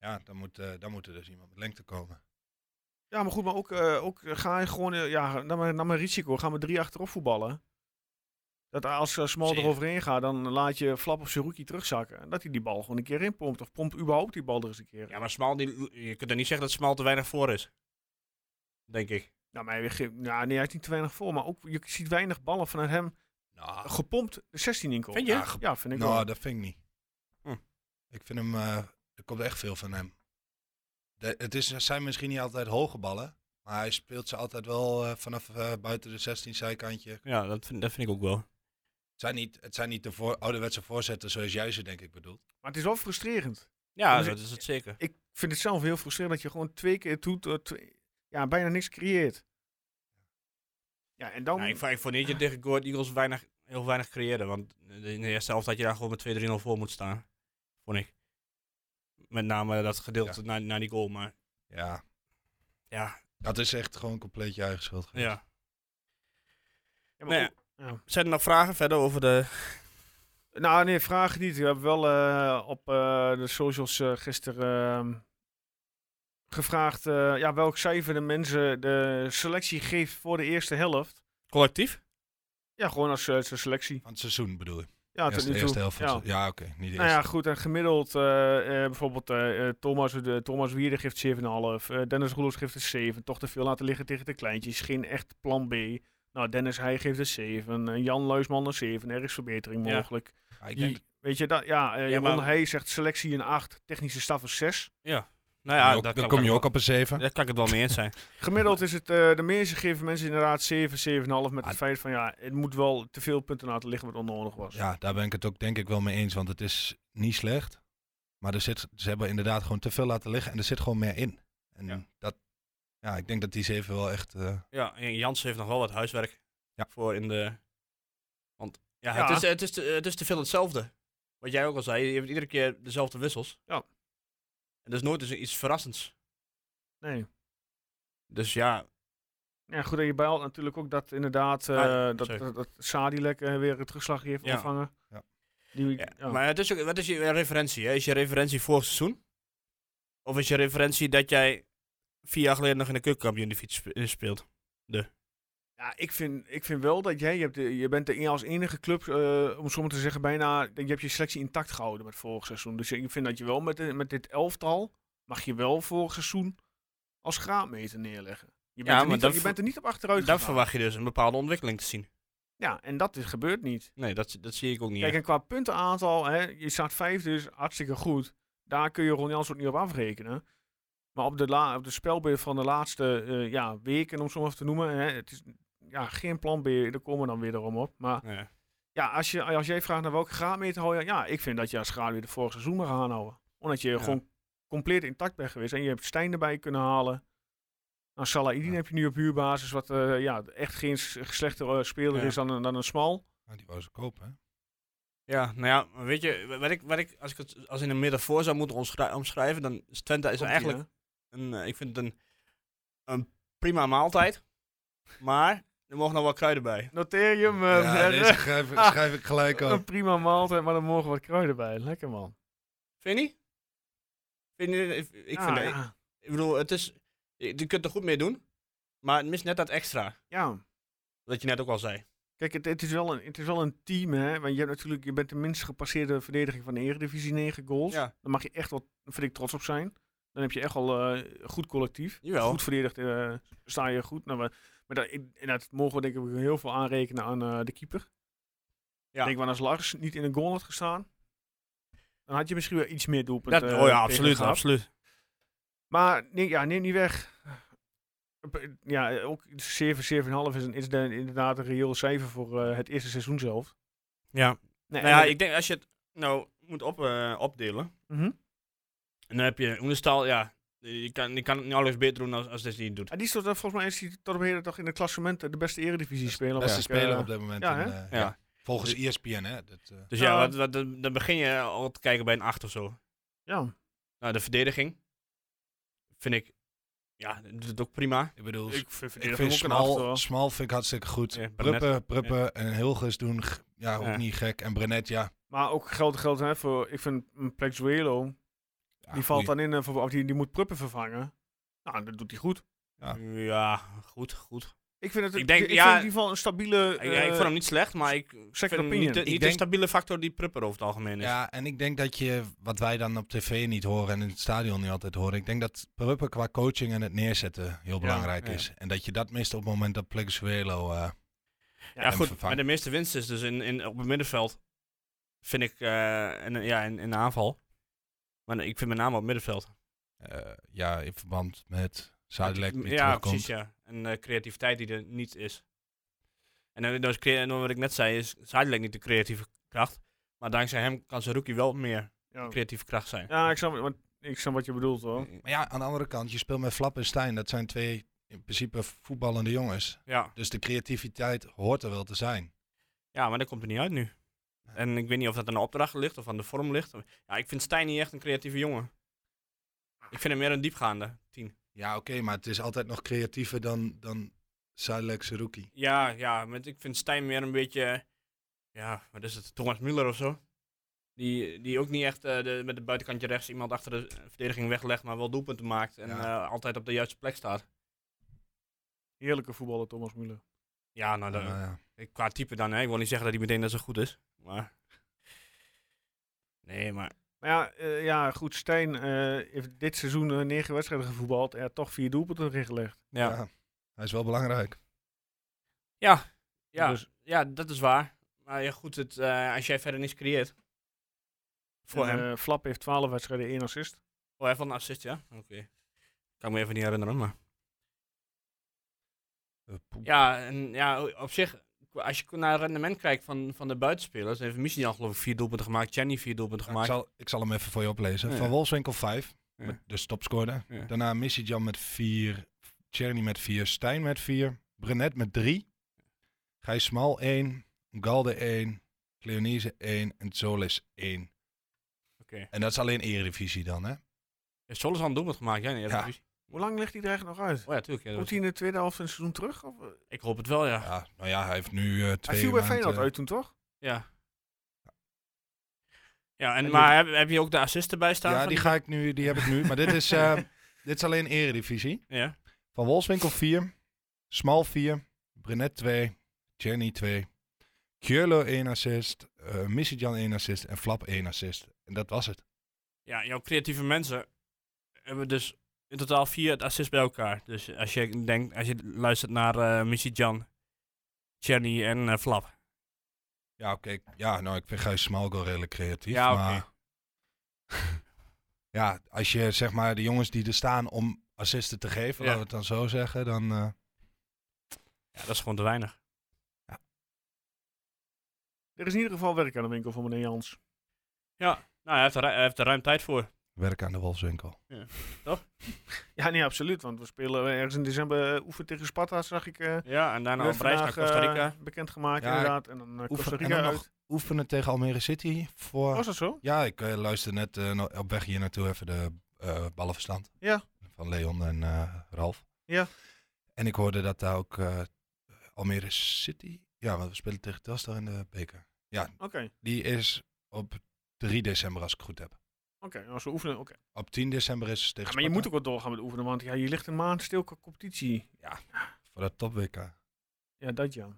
Speaker 5: Ja, dan moet, eh, dan moet er dus iemand met lengte komen.
Speaker 1: Ja, maar goed, maar ook, eh, ook eh, ga je gewoon, eh, ja, nam maar, nam maar risico. Gaan we drie achterop voetballen. Dat als eh, Smal
Speaker 4: Zeker.
Speaker 1: eroverheen gaat, dan laat je Flap of Seruki terugzakken. En dat hij die bal gewoon een keer inpompt. Of pompt überhaupt die bal er eens een keer. in.
Speaker 4: Ja, maar Smal, die, je kunt er niet zeggen dat Smal te weinig voor is. Denk ik.
Speaker 1: Nou, maar hij, ge- ja, nee, hij is niet te weinig voor. Maar ook, je ziet weinig ballen vanuit hem
Speaker 5: Nou,
Speaker 1: gepompt de 16 inkomen.
Speaker 4: Vind je?
Speaker 1: Ja, ge- Ja, vind ik
Speaker 5: nou
Speaker 1: wel.
Speaker 5: dat vind ik niet.
Speaker 4: Hm.
Speaker 5: Ik vind hem, eh, er komt echt veel van hem. De- het is, het zijn misschien niet altijd hoge ballen, maar hij speelt ze altijd wel eh, vanaf eh, buiten de 16 zijkantje. Het
Speaker 4: Ja, dat vind, dat vind ik ook wel.
Speaker 5: zijn niet, het zijn niet de voor, ouderwetse voorzetten zoals jij ze denk ik bedoelt.
Speaker 1: Maar het is wel frustrerend.
Speaker 4: Ja,
Speaker 1: Dus
Speaker 4: dat
Speaker 1: ik-
Speaker 4: is het zeker.
Speaker 1: Ik vind het zelf heel frustrerend dat je gewoon twee keer het doet, eh, twee- ja, bijna niks creëert. Ja, en dan...
Speaker 4: Nou, ik, vond- ik vond niet dat je tegen Goord Eagles weinig, heel weinig creëerde. Want in de eerste helft had je daar gewoon met 2-3-0 voor moet staan. Vond ik. Met name dat gedeelte naar, naar die goal. Maar
Speaker 5: Ja,
Speaker 4: ja,
Speaker 5: dat is echt gewoon compleet je eigen schuld. geweest.
Speaker 4: ja.
Speaker 1: Ja, maar
Speaker 4: Nee,
Speaker 1: ook- ja.
Speaker 4: Zijn er nog vragen verder over de...
Speaker 1: Nou, nee, vraag niet. We hebben wel eh, op eh, de socials eh, gisteren ehm, gevraagd eh, ja, welk cijfer de mensen de selectie geeft voor de eerste helft.
Speaker 4: Collectief?
Speaker 1: Ja, gewoon als eh, zijn selectie.
Speaker 5: Van het seizoen bedoel ik.
Speaker 1: Ja,
Speaker 5: Eerst
Speaker 1: tot
Speaker 5: de
Speaker 1: nu toe.
Speaker 5: eerste helft van het
Speaker 1: Ja.
Speaker 5: seizoen. Ja, oké. niet de
Speaker 1: Nou ja,
Speaker 5: eerste.
Speaker 1: goed. En gemiddeld, eh, eh, bijvoorbeeld eh, eh, Thomas, de, Thomas Wierde geeft 7,5. eh, Dennis Roelofs geeft een 7. Toch te veel laten liggen tegen de kleintjes. Geen echt plan B. Nou, Dennis hij geeft een 7. en Jan Luisman een 7. Er is verbetering
Speaker 4: Ja.
Speaker 1: mogelijk.
Speaker 5: Maar ik denk
Speaker 1: Die- Weet je, dat, ja, eh
Speaker 4: Ja,
Speaker 1: Ron
Speaker 4: maar-
Speaker 1: Heij zegt selectie een 8, technische staf een 6.
Speaker 4: Nou ja,
Speaker 5: ook-
Speaker 4: daar
Speaker 5: dan
Speaker 4: kan
Speaker 5: kom
Speaker 4: ik
Speaker 5: je
Speaker 4: het
Speaker 5: ook op een 7.
Speaker 4: wel- Daar kan ik het wel mee eens zijn.
Speaker 1: Gemiddeld is het, eh, de meeste geven mensen inderdaad 7, 7,5. Met
Speaker 5: Ah,
Speaker 1: het feit van, ja, het moet wel te veel punten laten liggen wat onnodig was.
Speaker 5: Ja, daar ben ik het ook denk ik wel mee eens, want het is niet slecht. Maar er zit, ze hebben inderdaad gewoon te veel laten liggen en er zit gewoon meer in. En
Speaker 4: Ja.
Speaker 5: dat, ja, ik denk dat die zeven wel echt... eh,
Speaker 4: ja, en Jans heeft nog wel wat huiswerk
Speaker 5: Ja.
Speaker 4: voor in de... Want ja,
Speaker 1: Ja.
Speaker 4: Het, is, het, is te, het is te veel hetzelfde. Wat jij ook al zei, je hebt iedere keer dezelfde wissels.
Speaker 1: Ja.
Speaker 4: En dat is nooit dus iets verrassends.
Speaker 1: Nee.
Speaker 4: Dus ja,
Speaker 1: Ja, goed, en je bijlt natuurlijk ook dat inderdaad eh,
Speaker 4: Ah,
Speaker 1: dat,
Speaker 4: zeker.
Speaker 1: dat, dat Sadilek eh, weer het terugslag heeft
Speaker 4: Ja.
Speaker 1: ontvangen.
Speaker 5: Ja.
Speaker 1: Die,
Speaker 4: ja.
Speaker 1: ja.
Speaker 4: maar het is ook, wat is je referentie? Hè? Is je referentie vorig seizoen? Of is je referentie dat jij vier jaar geleden nog in de keukenkampioen speelt?
Speaker 1: Ja, ik vind, ik vind wel dat jij, je, hebt de- je bent de, als enige club, eh, om zo maar te zeggen, bijna, je hebt je selectie intact gehouden met vorig seizoen. Dus ik vind dat je wel met, de- met dit elftal, mag je wel vorig seizoen als graadmeter neerleggen. Je bent, er,
Speaker 4: Ja, maar
Speaker 1: niet,
Speaker 4: dan
Speaker 1: op- je
Speaker 4: ver-
Speaker 1: bent er niet op achteruit
Speaker 4: Daar
Speaker 1: gegaan.
Speaker 4: verwacht je dus een bepaalde ontwikkeling te zien.
Speaker 1: Ja, en dat is, gebeurt niet.
Speaker 4: Nee, dat, dat zie ik ook niet.
Speaker 1: Kijk,
Speaker 4: echt.
Speaker 1: en qua puntenaantal, hè, je staat vijf, dus hartstikke goed. Daar kun je Ron Jans ook niet op afrekenen. Maar op de, la, op de spelbeeld van de laatste eh, ja, weken, om zo maar even te noemen, hè, het is ja, geen plan B, daar komen we dan weer erom op. Maar
Speaker 4: Nee.
Speaker 1: ja, als, je, als jij vraagt naar welke graadmeter hou je, ja, ik vind dat je als graad weer de vorig seizoen mag aanhouden. Omdat je
Speaker 4: Ja.
Speaker 1: gewoon compleet intact bent geweest en je hebt Stijn erbij kunnen halen. Nou, Salahidin
Speaker 5: Ja.
Speaker 1: heb je nu op huurbasis, wat eh, ja, echt geen s- slechtere eh, speler
Speaker 4: Ja.
Speaker 1: is dan, een- dan een smal.
Speaker 5: nou, die wou ze kopen, hè?
Speaker 4: Ja, nou ja, maar weet je, wat ik, wat ik, als ik het als in een metafoor zou moeten omschrij- omschrijven, dan is Twente is
Speaker 1: Komt-ie,
Speaker 4: eigenlijk,
Speaker 1: hè?
Speaker 4: een, eh, ik vind het een, een prima maaltijd, maar er mogen nog wel kruiden bij.
Speaker 1: Noteer je hem. eh,
Speaker 5: ja,
Speaker 1: Berre.
Speaker 5: deze schrijf, schrijf ik gelijk
Speaker 1: een
Speaker 5: op.
Speaker 1: prima maaltijd, maar dan mogen wat kruiden bij. Lekker man.
Speaker 4: Vind je niet? Vind je, ik ik
Speaker 1: Ah, Ja,
Speaker 4: vind het,
Speaker 1: ja.
Speaker 4: ik bedoel, het is, je, je kunt er goed mee doen, maar het mist net dat extra,
Speaker 1: ja.
Speaker 4: wat je net ook al zei.
Speaker 1: Kijk, het, het, is wel een, het is wel een team, hè? Want je, hebt natuurlijk, je bent de minst gepasseerde verdediging van de Eredivisie, 9 goals.
Speaker 4: Ja.
Speaker 1: Daar mag je echt wel, vind ik, trots op zijn. Dan heb je echt al eh, goed collectief.
Speaker 4: Jawel.
Speaker 1: Goed verdedigd eh, sta je goed. Nou, maar, Maar dat, ik- en dat mogen we denk ik ook heel veel aanrekenen aan eh, de keeper.
Speaker 4: Ja.
Speaker 1: Ik denk, want als Lars niet in een goal had gestaan, dan had je misschien wel iets meer doelpunten.
Speaker 4: Dat,
Speaker 1: eh,
Speaker 4: oh ja,
Speaker 1: tegen
Speaker 4: absoluut,
Speaker 1: gehad.
Speaker 4: absoluut.
Speaker 1: Maar nee, ja, neem niet weg. Ja, ook 7, 7,5 is, een, is de- inderdaad een reëel cijfer voor eh, het eerste seizoen zelf.
Speaker 4: Ja.
Speaker 1: Nee,
Speaker 4: Nou ja,
Speaker 1: en-
Speaker 4: ik denk als je het nou moet op, eh, opdelen,
Speaker 1: Mhm.
Speaker 4: en dan heb je Oenestal, ja, die kan, die kan het nauwelijks beter doen als, als dit niet doet.
Speaker 1: Ja, die is tot, eh, volgens mij is hij tot op heden toch in het klassement eh, de beste eredivisie speler.
Speaker 5: Beste
Speaker 1: Ja, ik,
Speaker 5: speler
Speaker 1: eh,
Speaker 5: op dit moment.
Speaker 1: ja,
Speaker 5: in,
Speaker 1: hè?
Speaker 5: eh,
Speaker 4: Ja.
Speaker 5: Volgens ESPN, hè. Dat, eh,
Speaker 4: Dus ja,
Speaker 1: Ja.
Speaker 4: wat, wat, dan dan begin je al te kijken bij een 8 of zo.
Speaker 1: ja.
Speaker 4: Nou, de verdediging vind ik, ja, doet het ook prima.
Speaker 5: ik bedoel,
Speaker 1: Ik vind,
Speaker 5: ik vind Smal, Smal vind ik hartstikke goed.
Speaker 4: Ja, Brenet.
Speaker 5: Pruppen, Pruppen en Hilgers doen g- ja, ook
Speaker 4: Ja.
Speaker 5: niet gek. En Brenet, ja.
Speaker 1: Maar ook geld geld hè, voor, ik vind mm, Plexuelo,
Speaker 5: ja,
Speaker 1: die valt
Speaker 5: goeie.
Speaker 1: dan in, eh, voor, of die, die moet Pruppen vervangen. Nou, dat doet hij goed.
Speaker 5: Ja.
Speaker 4: Ja, goed, goed.
Speaker 1: Ik vind het
Speaker 4: Ik denk,
Speaker 1: ik
Speaker 4: ja,
Speaker 1: vind in ieder geval een stabiele...
Speaker 4: ik, ja, ik
Speaker 1: eh,
Speaker 4: vond hem niet slecht, maar ik vind hem
Speaker 1: opinion.
Speaker 4: niet, de,
Speaker 1: Ik
Speaker 4: niet de
Speaker 5: denk-
Speaker 4: stabiele factor die Prupper over het algemeen is.
Speaker 5: Ja, en ik denk dat je, wat wij dan op tv niet horen en in het stadion niet altijd horen, ik denk dat Pruppen qua coaching en het neerzetten heel belangrijk
Speaker 4: ja.
Speaker 5: is. En dat je dat mist op het moment dat Plexuelo... eh
Speaker 4: Ja,
Speaker 5: hem
Speaker 4: goed,
Speaker 5: vervangt.
Speaker 4: maar de meeste winst is dus in, in, op het middenveld, vind ik, eh, en, eh, ja, in, in de aanval. Maar ik vind met name op het middenveld.
Speaker 5: eh, ja, in verband met Zuidelijk
Speaker 4: Ja,
Speaker 5: die
Speaker 4: ja
Speaker 5: terugkomt.
Speaker 4: precies, ja. En eh, creativiteit die er niet is. En dan, dan is crea- en dan wat ik net zei, is Zuidelijk niet de creatieve kracht. Maar dankzij hem kan Saruki wel meer
Speaker 1: ja.
Speaker 4: creatieve kracht zijn.
Speaker 1: Ja, ik snap, want, ik snap wat je bedoelt hoor.
Speaker 5: Maar ja, aan de andere kant, je speelt met Flap en Stijn. Dat zijn twee in principe voetballende jongens.
Speaker 4: Ja,
Speaker 5: Dus de creativiteit hoort er wel te zijn.
Speaker 4: ja maar dat komt er niet uit nu. En ik weet niet of dat aan de opdracht ligt of aan de vorm ligt. Ja, ik vind Stijn niet echt een creatieve jongen. Ik vind hem meer een diepgaande tien.
Speaker 5: Ja, oké, maar het is altijd nog creatiever dan, dan Zuidelijk Seruki.
Speaker 4: Ja, ja, met, ik vind Stijn meer een beetje, ja, wat is het, Thomas Müller of zo. Die, die ook niet echt eh, de, met de buitenkantje rechts iemand achter de eh, verdediging weglegt, maar wel doelpunten maakt en
Speaker 5: Ja.
Speaker 4: eh, altijd op de juiste plek staat.
Speaker 1: Heerlijke voetballer Thomas Müller.
Speaker 4: Ja, nou, dat-
Speaker 5: eh,
Speaker 4: ik- qua type dan, hè. ik wil niet zeggen dat hij meteen dat zo goed is, maar... Nee, maar...
Speaker 1: Maar ja, eh, ja goed, Stijn eh, heeft dit seizoen eh, negen wedstrijden gevoetbald en toch vier doelpunten ingelegd.
Speaker 4: Ja, ja.
Speaker 5: Ja. Hij is wel belangrijk.
Speaker 4: Ja,
Speaker 1: Dus-
Speaker 4: dat is waar. Maar ja, goed, het, eh, als jij verder niets creëert... Voor
Speaker 1: En,
Speaker 4: hem.
Speaker 1: eh, Flap heeft 12 wedstrijden, één assist.
Speaker 4: Oh, hij heeft wel een assist, ja? Oké. Kan ik me even niet herinneren, maar...
Speaker 5: Eh, poep.
Speaker 4: Ja, en ja, op zich, als je naar het rendement kijkt van, van de buitenspelers, heeft Michigan geloof ik vier doelpunten gemaakt, Jenny vier doelpunten
Speaker 5: ik,
Speaker 4: gemaakt.
Speaker 5: zal, ik zal hem even voor je oplezen.
Speaker 4: Ja.
Speaker 5: Van Wolfswinkel 5,
Speaker 4: Ja.
Speaker 5: de topscorer.
Speaker 4: Ja.
Speaker 5: Daarna Missy Jan met 4, Cherny met 4, Stijn met 4, Brenet met 3, Gijs Smal 1, Galde 1, Cleonise 1 en Zolis 1.
Speaker 4: Oké.
Speaker 5: En dat is alleen Eredivisie dan, hè?
Speaker 4: Heeft Solis al een doelpunt gemaakt, ja, in de Eredivisie?
Speaker 1: Hoe lang ligt hij er eigenlijk nog uit?
Speaker 4: Oh ja, tuurlijk. ja, dat
Speaker 1: Komt
Speaker 4: was-
Speaker 1: hij in de tweede helft van het seizoen terug? Of, eh,
Speaker 4: Ik hoop het wel, ja.
Speaker 5: Ja, nou ja, hij heeft nu eh, twee
Speaker 1: hij viel bij
Speaker 5: maanden-
Speaker 1: Feyenoord uit toen, toch?
Speaker 4: Ja. Ja, en,
Speaker 1: En
Speaker 4: maar heb, heb je ook de assist erbij staan?
Speaker 5: Ja,
Speaker 4: van
Speaker 5: die ga ik nu, die heb ik nu. Maar dit is, eh, dit is alleen Eredivisie.
Speaker 4: Ja.
Speaker 5: Van Wolfswinkel 4, Smal 4, Brenet 2, Jenny 2, Kjurlo 1 assist, eh Misijan 1 assist en Flap 1 assist. En dat was het.
Speaker 4: ja, jouw creatieve mensen hebben dus in totaal vier assists bij elkaar. Dus als je, denkt, als je luistert naar eh Michigan, Jenny en eh, Flap.
Speaker 5: Ja, oké. ik- Ja, nou, ik vind Gijs Smal wel redelijk creatief.
Speaker 4: Ja, oké.
Speaker 5: maar... ja, als je zeg maar de jongens die er staan om assisten te geven, laten
Speaker 4: Ja.
Speaker 5: we het dan zo zeggen, dan... eh,
Speaker 4: Ja, dat is gewoon te weinig.
Speaker 1: Er is in ieder geval werk aan de winkel van meneer Jans.
Speaker 4: Nou, hij heeft er, ru- hij heeft er ruim tijd voor.
Speaker 5: Werk aan de Wolfswinkel.
Speaker 1: Ja, nee, absoluut. Want we spelen eh, ergens in december eh, oefen tegen Sparta, zag ik. eh
Speaker 4: Ja, en daarna
Speaker 1: werd
Speaker 4: op reis naar
Speaker 1: vandaag,
Speaker 4: Costa Rica.
Speaker 1: eh, bekendgemaakt,
Speaker 5: Ja,
Speaker 1: inderdaad. En dan eh, Costa
Speaker 5: Oefen, en
Speaker 1: Rica
Speaker 5: dan
Speaker 1: uit.
Speaker 5: nog oefenen tegen Almere City voor...
Speaker 4: Oh,
Speaker 1: Was dat zo?
Speaker 5: Ja, ik eh, luister net eh, no- op weg hier naartoe even de eh, ballenverstand.
Speaker 1: Ja.
Speaker 5: Van Leon en eh, Ralf.
Speaker 1: Ja.
Speaker 5: En ik hoorde dat daar ook eh, Almere City. Ja, want we spelen tegen Telstar in de beker.
Speaker 1: Oké, oké.
Speaker 5: Die is op 3 december, als ik het goed heb.
Speaker 1: Als we oefenen, oké.
Speaker 5: Op 10 december is het tegen.
Speaker 1: Ja, maar je moet
Speaker 5: Sparta
Speaker 1: ook wel doorgaan met oefenen, want ja, je ligt een maand stil qua competitie.
Speaker 5: voor dat top WK.
Speaker 1: Ja, dat ja.
Speaker 5: Ja,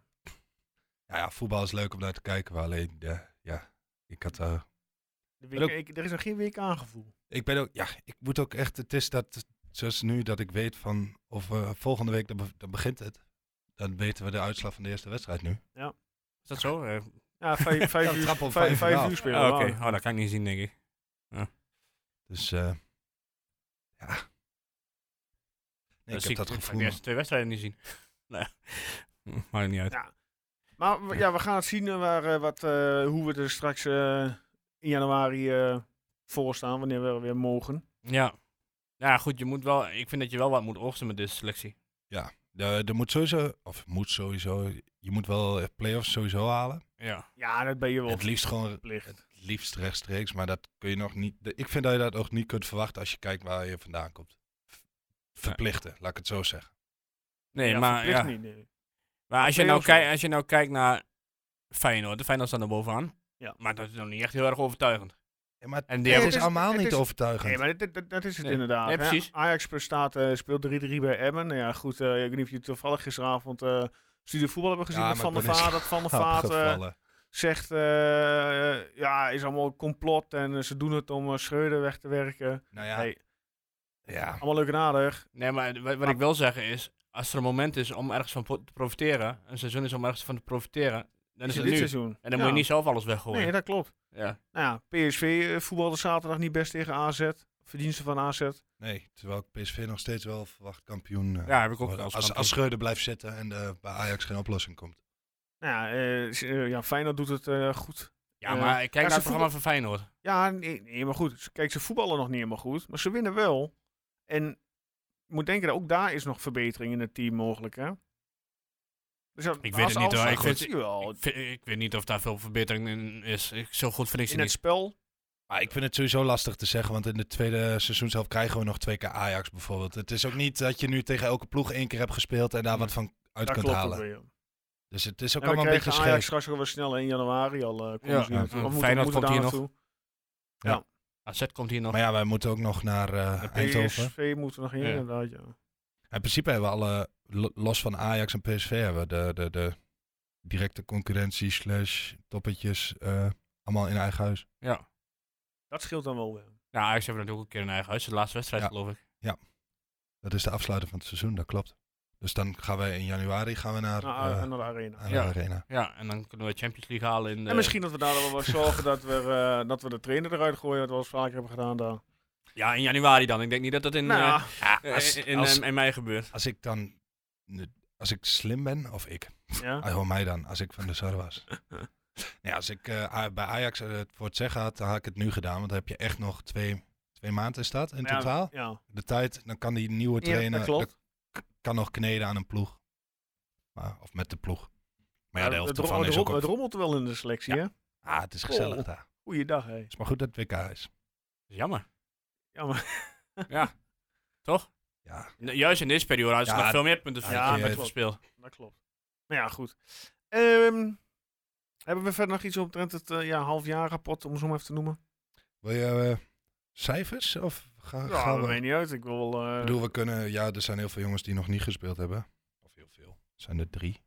Speaker 5: Nou ja, voetbal is leuk om naar te kijken. Maar alleen, ja, ja ik had. eh,
Speaker 1: De week-
Speaker 5: ook-
Speaker 1: ik- er is nog geen week aangevoel.
Speaker 5: ik ben ook. Ja, ik moet ook echt. Het is dat. Zoals nu dat ik weet van. Of eh, volgende week, dan, be- dan begint het. Dan weten we de uitslag van de eerste wedstrijd nu.
Speaker 4: Is dat zo? Eh,
Speaker 1: Ja, vijf, vijf,
Speaker 5: Ja,
Speaker 1: uur,
Speaker 5: trap op
Speaker 1: vijf,
Speaker 5: vijf
Speaker 1: vijf
Speaker 5: uur af.
Speaker 1: uur spelen.
Speaker 4: ah, Oké,
Speaker 1: Nou,
Speaker 4: oh, dat kan ik niet zien, denk ik.
Speaker 5: Dus eh, ja. Nee, ik
Speaker 4: zie
Speaker 5: heb dat
Speaker 4: ik
Speaker 5: gevoel.
Speaker 4: de
Speaker 5: nog.
Speaker 4: eerste twee wedstrijden niet zien. nee,
Speaker 1: Hm,
Speaker 4: maakt niet uit.
Speaker 1: Ja. Maar we- ja, we gaan het zien eh, waar, eh, wat, eh, hoe we er straks eh, in januari eh, voor staan, wanneer we weer mogen.
Speaker 4: Ja. Ja, goed, je moet wel, ik vind dat je wel wat moet oogsten met deze selectie.
Speaker 5: Eh, er moet sowieso, of moet sowieso, je moet wel eh, play-offs sowieso halen.
Speaker 4: Ja.
Speaker 1: Ja, dat ben je wel
Speaker 5: Het liefst gewoon
Speaker 1: verplicht.
Speaker 5: het liefst rechtstreeks, maar dat kun je nog niet. de- Ik vind dat je dat ook niet kunt verwachten als je kijkt waar je vandaan komt. V- Verplichten, laat ik het zo zeggen.
Speaker 4: Nee,
Speaker 1: Ja,
Speaker 4: maar,
Speaker 1: verplicht
Speaker 4: ja.
Speaker 1: niet, nee.
Speaker 4: maar als, je nou
Speaker 1: play-offs
Speaker 4: kijkt
Speaker 1: wel.
Speaker 4: als je nou kijkt naar Feyenoord, de Feyenoord staat er bovenaan.
Speaker 1: Ja.
Speaker 4: Maar dat is nog niet echt heel erg overtuigend.
Speaker 5: Ja, maar
Speaker 4: En
Speaker 5: het
Speaker 4: die hebben
Speaker 5: is
Speaker 1: het is-
Speaker 5: allemaal
Speaker 1: het
Speaker 5: niet
Speaker 1: is-
Speaker 5: overtuigend.
Speaker 1: Nee, maar dat, dat, dat is het
Speaker 4: Nee.
Speaker 1: inderdaad.
Speaker 4: Nee,
Speaker 1: hè.
Speaker 4: precies.
Speaker 1: Ajax staat, eh, speelt 3-3 bij Emmen. Nou ja, goed, eh, ik weet niet of jullie toevallig gisteravond eh studie voetbal hebben gezien
Speaker 5: Ja,
Speaker 1: met
Speaker 5: maar
Speaker 1: Van der
Speaker 5: ik ben in
Speaker 1: Vaart. Dat Van der
Speaker 5: Ja,
Speaker 1: Vaart eh,
Speaker 5: opgevallen.
Speaker 1: zegt, eh, eh, ja, is allemaal een complot en eh, ze doen het om eh, Schreuder weg te werken.
Speaker 5: nou ja,
Speaker 1: Hey,
Speaker 5: ja.
Speaker 1: allemaal leuk en aardig.
Speaker 4: Nee, maar wat, wat ik
Speaker 1: Ah.
Speaker 4: wil zeggen is, als er een moment is om ergens van po- te profiteren, een seizoen is om ergens van te profiteren, dan is
Speaker 1: in
Speaker 4: het
Speaker 1: dit
Speaker 4: nu. En
Speaker 1: seizoen.
Speaker 4: dan
Speaker 1: Ja.
Speaker 4: moet je niet zelf alles weggooien.
Speaker 1: Nee, dat klopt.
Speaker 4: ja.
Speaker 1: Nou ja, PSV eh, voetbalde zaterdag niet best tegen AZ. Verdiensten van Nou AZ.
Speaker 5: Nee, terwijl ik PSV nog steeds wel verwacht kampioen. eh,
Speaker 4: ja, heb ik ook
Speaker 5: worden.
Speaker 4: wel
Speaker 5: als,
Speaker 4: eens
Speaker 5: als,
Speaker 4: kampioen.
Speaker 5: Schreuder blijft zitten en eh, bij Ajax geen oplossing komt.
Speaker 1: Nou ja, eh, s- eh, ja Feyenoord doet het eh, goed.
Speaker 4: Ja,
Speaker 1: eh,
Speaker 4: maar kijk naar
Speaker 1: ze
Speaker 4: het programma van Feyenoord.
Speaker 1: Ja, nee, nee, maar goed. Ze- Kijk, ze voetballen nog niet helemaal goed, maar ze winnen wel. En je moet denken dat ook daar is nog verbetering in het team mogelijk, hè? Dus ja,
Speaker 4: weet
Speaker 1: als-
Speaker 4: het niet,
Speaker 1: als-
Speaker 4: hoor. Ik
Speaker 1: goed,
Speaker 4: vind-
Speaker 1: zie je wel.
Speaker 4: Ik, vind- ik weet niet of daar veel verbetering in is. Ik, zo goed vind ik ze
Speaker 1: In het
Speaker 4: niet.
Speaker 1: spel.
Speaker 5: Maar ik vind het sowieso lastig te zeggen, want in de tweede seizoen zelf krijgen we nog twee keer Ajax bijvoorbeeld. Het is ook niet dat je nu tegen elke ploeg één keer hebt gespeeld en daar wat van uit
Speaker 1: Dat
Speaker 5: kunt
Speaker 1: klopt ook
Speaker 5: halen.
Speaker 1: weer.
Speaker 5: Dus het is ook
Speaker 1: En we
Speaker 5: allemaal een beetje
Speaker 1: krijgen Ajax
Speaker 5: scheef.
Speaker 1: straks ook wel snel in januari al. eh, komen
Speaker 4: Ja,
Speaker 1: ze hier naartoe.
Speaker 5: ja.
Speaker 1: Of
Speaker 4: Mm,
Speaker 1: moeten- moeten
Speaker 4: Feyenoord komt
Speaker 1: daar
Speaker 4: hier
Speaker 1: naartoe.
Speaker 4: AZ komt hier nog.
Speaker 5: Maar ja, wij moeten ook nog naar eh, Eindhoven.
Speaker 1: PSV moeten nog in,
Speaker 4: Ja.
Speaker 1: inderdaad, ja.
Speaker 5: In principe hebben we alle, lo- los van Ajax en PSV, hebben we de, de, de directe concurrentie slash toppetjes eh, allemaal in eigen huis.
Speaker 4: Ja.
Speaker 1: Dat scheelt dan wel weer.
Speaker 4: Nou, Ajax hebben natuurlijk ook een keer een eigen huis. De laatste wedstrijd,
Speaker 5: Ja.
Speaker 4: geloof ik.
Speaker 5: Dat is de afsluiter van het seizoen, dat klopt. Dus dan gaan we in januari gaan we naar,
Speaker 1: Nou,
Speaker 5: eh,
Speaker 1: en naar de arena.
Speaker 5: naar
Speaker 4: Ja.
Speaker 5: de arena.
Speaker 4: Ja, en dan kunnen we Champions League halen in de...
Speaker 1: En misschien dat we daar wel wat zorgen dat we, eh, dat we de trainer eruit gooien, wat we al eens vaker hebben gedaan daar.
Speaker 4: Ja, in januari dan. Ik denk niet dat dat in,
Speaker 1: Nou ja.
Speaker 4: eh, eh,
Speaker 5: als-
Speaker 4: in,
Speaker 5: als-
Speaker 4: eh, in mei gebeurt.
Speaker 5: Als ik dan, als ik slim ben, of ik,
Speaker 1: Ja.
Speaker 5: Ah, hoor mij dan, als ik van de Sar was. nee, als ik eh, A- bij Ajax eh, het voor het zeggen had, dan had ik het nu gedaan. Want dan heb je echt nog twee, twee maanden is dat in
Speaker 1: Ja,
Speaker 5: totaal.
Speaker 1: Ja,
Speaker 5: De tijd, dan kan die nieuwe
Speaker 1: Ja,
Speaker 5: trainer,
Speaker 1: dat klopt.
Speaker 5: dat k- kan nog kneden aan een ploeg. Maar, of met de ploeg. Maar ja, de
Speaker 1: Ja,
Speaker 5: helft
Speaker 1: het rom-
Speaker 5: ervan
Speaker 1: het
Speaker 5: is
Speaker 1: rom-
Speaker 5: ook... op-
Speaker 1: Het rommelt wel in de selectie,
Speaker 5: Ja.
Speaker 1: hè?
Speaker 5: Ah, het is gezellig
Speaker 1: Oh.
Speaker 5: daar. Het
Speaker 1: Goeiedag, hé.
Speaker 5: is maar goed dat het WK is.
Speaker 4: Dat is jammer.
Speaker 1: Jammer.
Speaker 4: Ja. Toch?
Speaker 5: Ja,
Speaker 4: Nou, Juist in deze periode hadden ze
Speaker 5: Ja,
Speaker 4: nog veel meer punten
Speaker 5: ja,
Speaker 4: ja,
Speaker 5: dat
Speaker 4: met
Speaker 1: klopt.
Speaker 4: verspeeld.
Speaker 1: Dat klopt. Nou ja, goed. Ehm, hebben we verder nog iets omtrent het eh, ja, halfjaarrapport, om zo maar even te noemen?
Speaker 5: wil je eh, cijfers? Of ga,
Speaker 1: Ja,
Speaker 5: Eh, gaan
Speaker 1: dat
Speaker 5: we...
Speaker 1: weet niet uit. Ik wil... wel, eh,
Speaker 5: Ik bedoel, we kunnen... Ja, er zijn heel veel jongens die nog niet gespeeld hebben. Of heel veel. Er zijn er drie.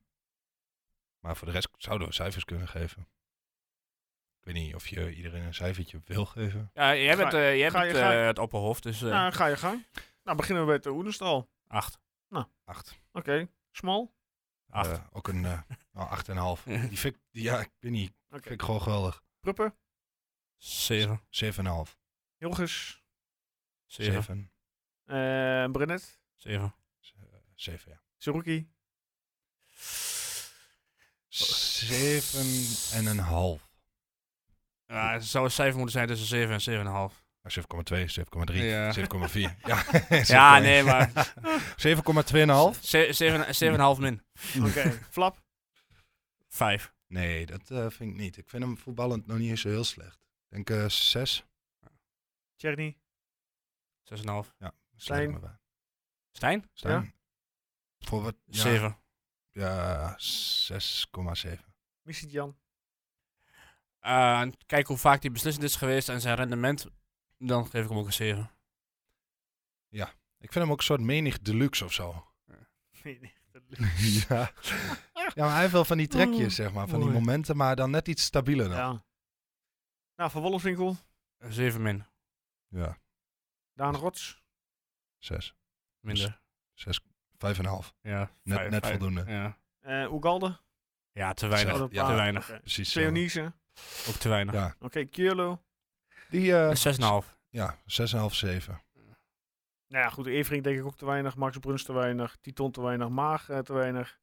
Speaker 5: Maar voor de rest zouden we cijfers kunnen geven. Ik weet niet of je iedereen een cijfertje wil geven.
Speaker 4: Ja, jij bent, eh, jij
Speaker 1: ga je-
Speaker 4: bent
Speaker 1: ga je-
Speaker 4: eh, het opperhoofd, dus eh,
Speaker 1: nou, ga je gang. Nou, beginnen we met de Oenestal. Oké,
Speaker 4: acht.
Speaker 5: Acht.
Speaker 1: smal.
Speaker 4: Acht.
Speaker 5: Eh, ook een... eh nou, acht en een half. Die vind ik... die- Ja, ik weet niet.
Speaker 1: Oké.
Speaker 5: Vind ik gewoon geweldig.
Speaker 1: Pruppen,
Speaker 4: Zeven.
Speaker 5: Zeven en een half.
Speaker 1: Hilgers,
Speaker 4: Zeven.
Speaker 5: Zeven.
Speaker 1: eh Brenet,
Speaker 4: Zeven.
Speaker 5: Zeven, ja.
Speaker 1: Zerouki.
Speaker 4: Oh.
Speaker 5: Zeven en een half.
Speaker 4: Ja, het zou een cijfer moeten zijn tussen zeven en zeven en een half.
Speaker 5: Nou, 7,2, 7,3,
Speaker 4: Ja.
Speaker 5: 7,4. Ja,
Speaker 4: Ja, nee, maar
Speaker 5: 7,2,5?
Speaker 4: ze- zeven- zeven en een half min.
Speaker 1: Oké, Flap.
Speaker 4: Vijf.
Speaker 5: Nee, dat eh, vind ik niet. Ik vind hem voetballend nog niet eens zo heel slecht. Ik denk eh, zes.
Speaker 1: Tjerni.
Speaker 4: Zes en een half.
Speaker 5: Sluit ik
Speaker 1: Stijn.
Speaker 5: me bij.
Speaker 4: Stijn?
Speaker 5: Stijn. Voor wat? Ja,
Speaker 4: Zeven.
Speaker 5: Ja, 6,7.
Speaker 1: Missie Jan.
Speaker 4: Eh, en kijk hoe vaak die beslissend is geweest en zijn rendement. Dan geef ik hem ook een 7.
Speaker 5: Ik vind hem ook een soort menig deluxe of zo.
Speaker 1: Nee, nee. dat lukt.
Speaker 5: ja. ja, maar hij heeft wel van die trekjes,
Speaker 1: Oh,
Speaker 5: zeg maar. Van die
Speaker 1: mooi.
Speaker 5: momenten, maar dan net iets stabieler dan. Ja.
Speaker 1: Ja. Nou, Van Wolfswinkel.
Speaker 4: Een 7 min.
Speaker 1: Daan Rots.
Speaker 5: 6.
Speaker 4: Minder.
Speaker 5: 5,5.
Speaker 4: Ja.
Speaker 5: Net,
Speaker 4: vijf-
Speaker 5: net
Speaker 4: vijf.
Speaker 5: voldoende.
Speaker 4: Ja.
Speaker 1: Eh Ugalde.
Speaker 4: Ja, te weinig.
Speaker 5: Zo.
Speaker 1: Oh,
Speaker 5: ja,
Speaker 1: ah,
Speaker 4: te weinig.
Speaker 1: oké.
Speaker 5: Precies. zo.
Speaker 1: Leonise.
Speaker 4: Ook te weinig.
Speaker 5: Ja.
Speaker 1: Oké, Kierlo.
Speaker 5: Die, eh,
Speaker 4: Een 6,5.
Speaker 5: ja, 6,5, 7.
Speaker 1: Nou ja, goed. Everink denk ik ook te weinig. Max Bruns te weinig. Titon te weinig. Maag eh, te weinig.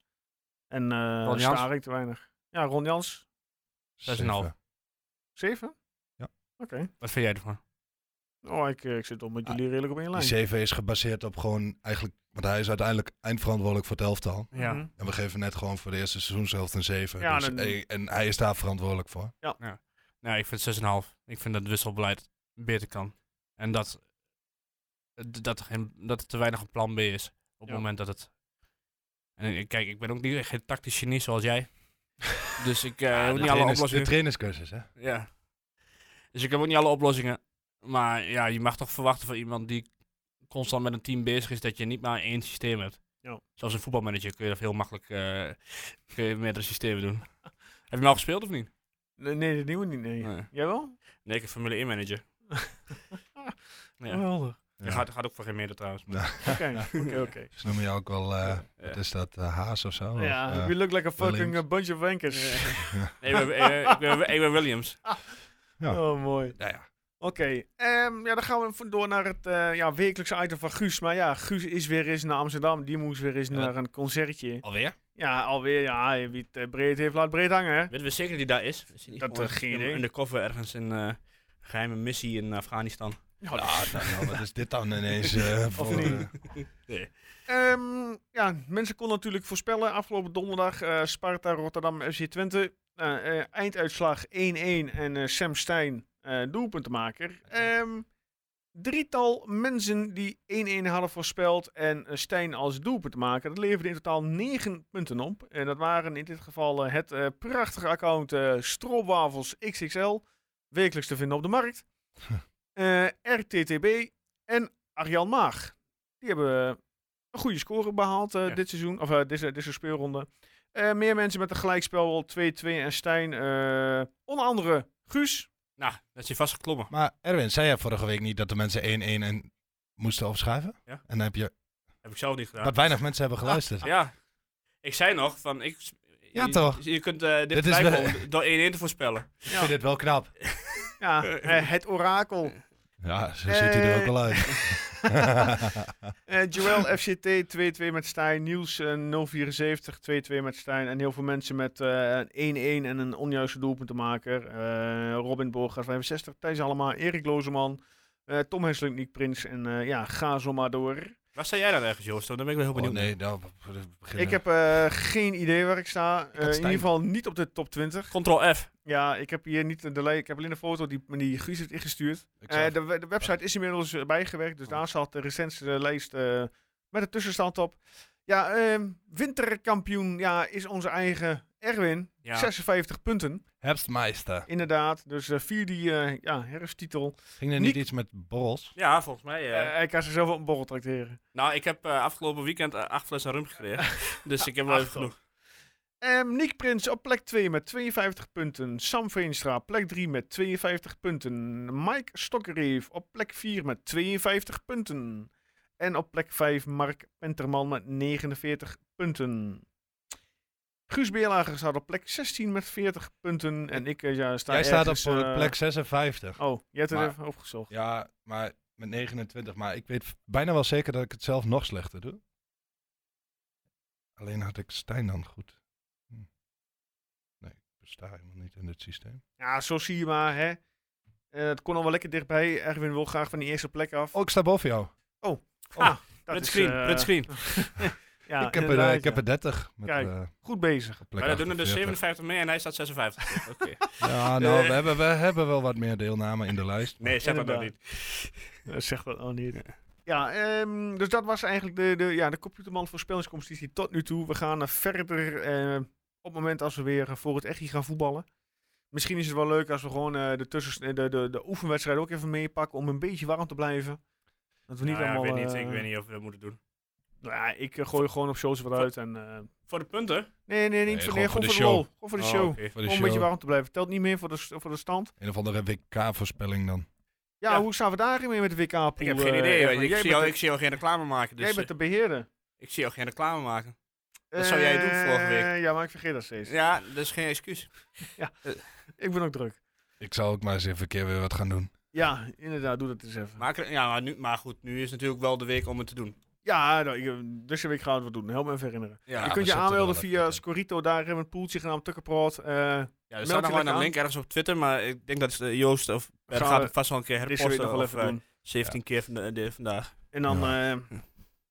Speaker 1: En eh
Speaker 4: Ron Jans.
Speaker 1: Starik te weinig. Ja, Ron Jans.
Speaker 4: 6,5.
Speaker 5: Zeven.
Speaker 1: Zeven?
Speaker 5: Ja.
Speaker 1: Oké.
Speaker 4: Wat vind jij ervan?
Speaker 1: Oh, ik, eh, ik zit om met
Speaker 4: Ah,
Speaker 1: jullie redelijk op één
Speaker 5: Die
Speaker 1: lijn.
Speaker 5: 7 is gebaseerd op gewoon eigenlijk... Want hij is uiteindelijk eindverantwoordelijk voor het elftal.
Speaker 4: Ja.
Speaker 1: Mhm.
Speaker 5: En we geven net gewoon voor de eerste seizoenshelft een 7.
Speaker 1: Ja,
Speaker 5: dus,
Speaker 1: dan-
Speaker 5: eh, en hij is daar verantwoordelijk voor.
Speaker 4: Nee, Nou, ik vind 6,5. Ik vind dat het wisselbeleid beter kan. En dat, d- dat, er geen, dat er te weinig een plan B is. Op
Speaker 1: Ja.
Speaker 4: het moment dat het... En ik- kijk, ik ben ook niet, geen tactisch genie zoals jij. dus ik eh, heb ook niet alle
Speaker 5: de
Speaker 4: oplossingen.
Speaker 5: trainerscursus, hè?
Speaker 4: Ja. Dus ik heb ook niet alle oplossingen. Maar ja, je mag toch verwachten van iemand die constant met een team bezig is, dat je niet maar één systeem hebt.
Speaker 1: Ja.
Speaker 4: Zoals een voetbalmanager kun je dat heel makkelijk eh kun je meerdere systemen doen. heb je hem al gespeeld of niet?
Speaker 1: Nee, nee, dat nieuwe niet. Nee.
Speaker 4: Nee.
Speaker 1: Jij wel?
Speaker 4: Nee, ik heb Formule 1 manager. ja.
Speaker 1: Geweldig.
Speaker 5: Ja.
Speaker 4: Dat gaat, dat gaat ook voor geen meter trouwens. maar-
Speaker 1: Oké, oké, oké.
Speaker 5: Ze noemen jou ook wel, eh,
Speaker 4: Ja.
Speaker 5: wat is dat, eh, Haas of zo? Of,
Speaker 1: Ja,
Speaker 5: eh,
Speaker 1: we look like a fucking
Speaker 5: Williams.
Speaker 1: eh, bunch of wankers.
Speaker 4: Nee, ik ben- eh, ik ben- ik ben Williams.
Speaker 5: Ja.
Speaker 1: Oh, mooi.
Speaker 5: nou ja,
Speaker 1: Oké, ehm, ja, dan gaan we even door naar het eh, ja, wekelijkse item van Guus. Maar ja, Guus is weer eens naar Amsterdam. Die moest weer eens
Speaker 4: Ja.
Speaker 1: naar een concertje.
Speaker 4: Alweer?
Speaker 1: Ja, alweer. Ja, wie het eh, breed heeft, laat breed hangen, hè?
Speaker 4: Weten we zeker dat hij daar is? Is hij niet
Speaker 1: Dat, eh,
Speaker 4: gewoon
Speaker 1: geen
Speaker 4: in-
Speaker 1: idee.
Speaker 4: In de koffer ergens in eh, geheime missie in Afghanistan.
Speaker 1: Ja,
Speaker 5: Ah, nou, nou, wat is dit dan ineens? eh, voor,
Speaker 1: niet?
Speaker 5: eh,
Speaker 1: Ehm, ja, mensen konden natuurlijk voorspellen. Afgelopen donderdag eh, Sparta, Rotterdam, FC Twente. Eh, eh, einduitslag 1-1 en eh, Sam Stein, eh, doelpuntenmaker. Ehm, drietal mensen die 1-1 hadden voorspeld en eh, Stein als doelpuntenmaker. Dat leverde in totaal 9 punten op. En dat waren in dit geval eh, het eh, prachtige account eh Stroopwafels XXL. Wekelijks te vinden op de markt. Eh, RTTB en Arjan Maag. Die hebben eh, een goede score behaald eh,
Speaker 4: Ja.
Speaker 1: dit seizoen, of eh, deze, deze speelronde. Eh, meer mensen met een gelijkspel, 2-2 en Stijn. eh, onder andere Guus.
Speaker 4: Nou, dat is hij vast geklommen.
Speaker 5: maar Erwin, zei jij vorige week niet dat de mensen 1-1 en moesten opschuiven?
Speaker 4: Ja.
Speaker 5: En dan heb je,
Speaker 4: Heb ik zelf niet gedaan.
Speaker 5: dat weinig mensen hebben geluisterd.
Speaker 4: Ja. Ik zei nog van ik.
Speaker 5: Ah. Ja,
Speaker 4: je,
Speaker 5: toch?
Speaker 4: Je kunt eh, dit
Speaker 5: Dit is
Speaker 4: blijven
Speaker 5: wel-
Speaker 4: om- door 1-1 te voorspellen.
Speaker 5: Ik vind dit wel knap.
Speaker 1: Ja, eh, het orakel.
Speaker 5: Ja, zo ziet hij er ook al uit.
Speaker 1: Eh, Joel FCT 2-2 met Stijn. Niels eh, 074 2-2 met Stijn. En heel veel mensen met eh, een 1-1 en een onjuiste doelpunt te maken. Eh, Robin Borgaard 65, Thijs Allemaal, Erik Lozeman, eh, Tom Henslink, Nick Prins. En eh, ja, ga zo maar door.
Speaker 4: Waar sta jij dan ergens, Joost? Dan ben ik wel heel
Speaker 5: Oh,
Speaker 4: benieuwd.
Speaker 5: nee, nou, we- we beginnen.
Speaker 1: Ik heb eh, geen idee waar ik sta. Eh, in
Speaker 5: Stijn.
Speaker 1: ieder geval niet op de top 20.
Speaker 4: Ctrl F.
Speaker 1: Ja, ik heb hier niet de lijn. Ik heb alleen een foto die, die Guus heeft ingestuurd.
Speaker 5: Ik zag-
Speaker 1: Eh, de, we- de website is inmiddels eh, bijgewerkt, dus daar staat de recentste lijst eh, met de tussenstand op. Ja, ehm, winterkampioen ja, is onze eigen Erwin.
Speaker 4: Ja.
Speaker 1: 56 punten,
Speaker 5: Herbstmeister.
Speaker 1: inderdaad. Dus eh, vier die eh, ja, herfsttitel.
Speaker 5: Ging er
Speaker 1: Niek-
Speaker 5: niet iets met borrels?
Speaker 4: Ja, volgens mij. eh.
Speaker 1: Eh, hij kan zichzelf op een borrel tracteren.
Speaker 4: nou, ik heb eh, afgelopen weekend eh, acht flessen rum gekregen. dus ik heb wel
Speaker 1: Ach,
Speaker 4: even genoeg.
Speaker 1: Ehm Nick Prins op plek 2 met 52 punten. Sam Veenstra plek 3 met 52 punten. Mike Stokkereef op plek 4 met 52 punten. En op plek 5 Mark Penterman met 49 punten. Guus Beerlager staat op plek 16 met 40 punten. En ik eh, ja, sta
Speaker 5: Jij staat op
Speaker 1: ergens,
Speaker 5: eh,
Speaker 1: eh,
Speaker 5: plek 56.
Speaker 1: Oh, jij hebt het
Speaker 5: Maar-
Speaker 1: even opgezocht.
Speaker 5: Ja, maar met 29. Maar ik weet bijna wel zeker dat ik het zelf nog slechter doe. Alleen had ik Stijn dan goed. Hm. Nee, ik besta helemaal niet in dit systeem.
Speaker 1: Ja, zo zie je maar, hè. Eh, het kon al wel lekker dichtbij. Erwin wil graag van die eerste plek af.
Speaker 5: Oh, ik sta boven jou.
Speaker 4: Print screen,
Speaker 1: eh,
Speaker 4: print screen.
Speaker 1: ja,
Speaker 5: ik, heb er,
Speaker 1: inderdaad,
Speaker 5: eh, ik heb
Speaker 1: ja.
Speaker 5: er 30. Met,
Speaker 1: Kijk.
Speaker 5: eh,
Speaker 1: Goed bezig.
Speaker 5: op plek
Speaker 4: Maar dan doen er dus
Speaker 5: 48.
Speaker 4: 57 mee en hij staat 56. Oké.
Speaker 5: Ja, nou, we hebben, we hebben wel wat meer deelname in de lijst.
Speaker 4: Nee, zeg dat nou
Speaker 1: Inderdaad.
Speaker 4: niet.
Speaker 1: Zeg dat al niet. Ja, ehm, dus dat was eigenlijk de, de, ja, de computerman voorspellingscompetitie tot nu toe. We gaan eh, verder eh, op het moment als we weer eh, voor het echt gaan voetballen. Misschien is het wel leuk als we gewoon eh, de, tussens, eh, de, de, de oefenwedstrijd ook even meepakken om een beetje warm te blijven. Dat we niet
Speaker 4: Nou ja,
Speaker 1: allemaal...
Speaker 4: ik, weet niet,
Speaker 1: eh,
Speaker 4: ik weet niet of we dat moeten doen.
Speaker 1: Nou ja, ik eh, gooi gewoon op shows wat uit en... eh,
Speaker 4: Voor de punten?
Speaker 1: nee, nee, niet
Speaker 5: Nee,
Speaker 1: voor,
Speaker 5: gewoon
Speaker 1: nee,
Speaker 5: voor
Speaker 1: gewoon voor
Speaker 5: de
Speaker 1: de
Speaker 5: show.
Speaker 1: lol. Gewoon voor de show.
Speaker 4: Oh,
Speaker 1: Gewoon
Speaker 4: oké.
Speaker 5: Voor de
Speaker 1: een
Speaker 5: show.
Speaker 1: beetje warm te blijven. Telt niet meer voor de, s- voor de stand.
Speaker 5: Een of andere WK-voorspelling dan.
Speaker 1: Ja,
Speaker 4: Ja.
Speaker 1: hoe staan we daarin mee met de WK-pool?
Speaker 4: Ik heb geen idee.
Speaker 1: jij,
Speaker 4: want ik, zie
Speaker 1: bent
Speaker 4: jou,
Speaker 1: de-
Speaker 4: ik zie jou geen reclame maken. Dus
Speaker 1: jij bent de beheerder.
Speaker 4: eh, ik zie jou geen reclame maken. Dat zou jij doen vorige week.
Speaker 1: Eh, Ja, maar ik vergeet dat steeds.
Speaker 4: Ja, dat is geen excuus.
Speaker 1: Ik ben ook druk.
Speaker 5: Ik zou ook maar eens even een keer weer wat gaan doen.
Speaker 1: Ja, inderdaad, doe dat eens even.
Speaker 4: Maar, ja, maar, nu, maar goed, nu is natuurlijk wel de week om het te doen.
Speaker 1: Ja, nou, ik, deze week gaan we het wat doen. Help me even herinneren.
Speaker 4: Ja,
Speaker 1: je
Speaker 5: we
Speaker 1: kunt je
Speaker 5: zitten
Speaker 1: aanmelden
Speaker 5: wel
Speaker 1: via
Speaker 5: even.
Speaker 1: Scorito. Daar hebben we een poeltje genaamd Tukkenproot. Eh
Speaker 4: ja, dus er
Speaker 1: meld je
Speaker 4: staat nog wel
Speaker 1: lekker
Speaker 4: een
Speaker 1: aan.
Speaker 4: link ergens op Twitter, maar ik denk dat eh, Joost of Bert
Speaker 1: Gaan
Speaker 4: gaat
Speaker 1: we
Speaker 4: het vast wel een keer
Speaker 1: deze week
Speaker 4: herposten.
Speaker 1: nog wel
Speaker 4: Of,
Speaker 1: even
Speaker 4: eh, Hm.
Speaker 1: doen.
Speaker 4: 17 keer van de- de- vandaag. Het
Speaker 1: En dan
Speaker 5: Ja.
Speaker 1: ja.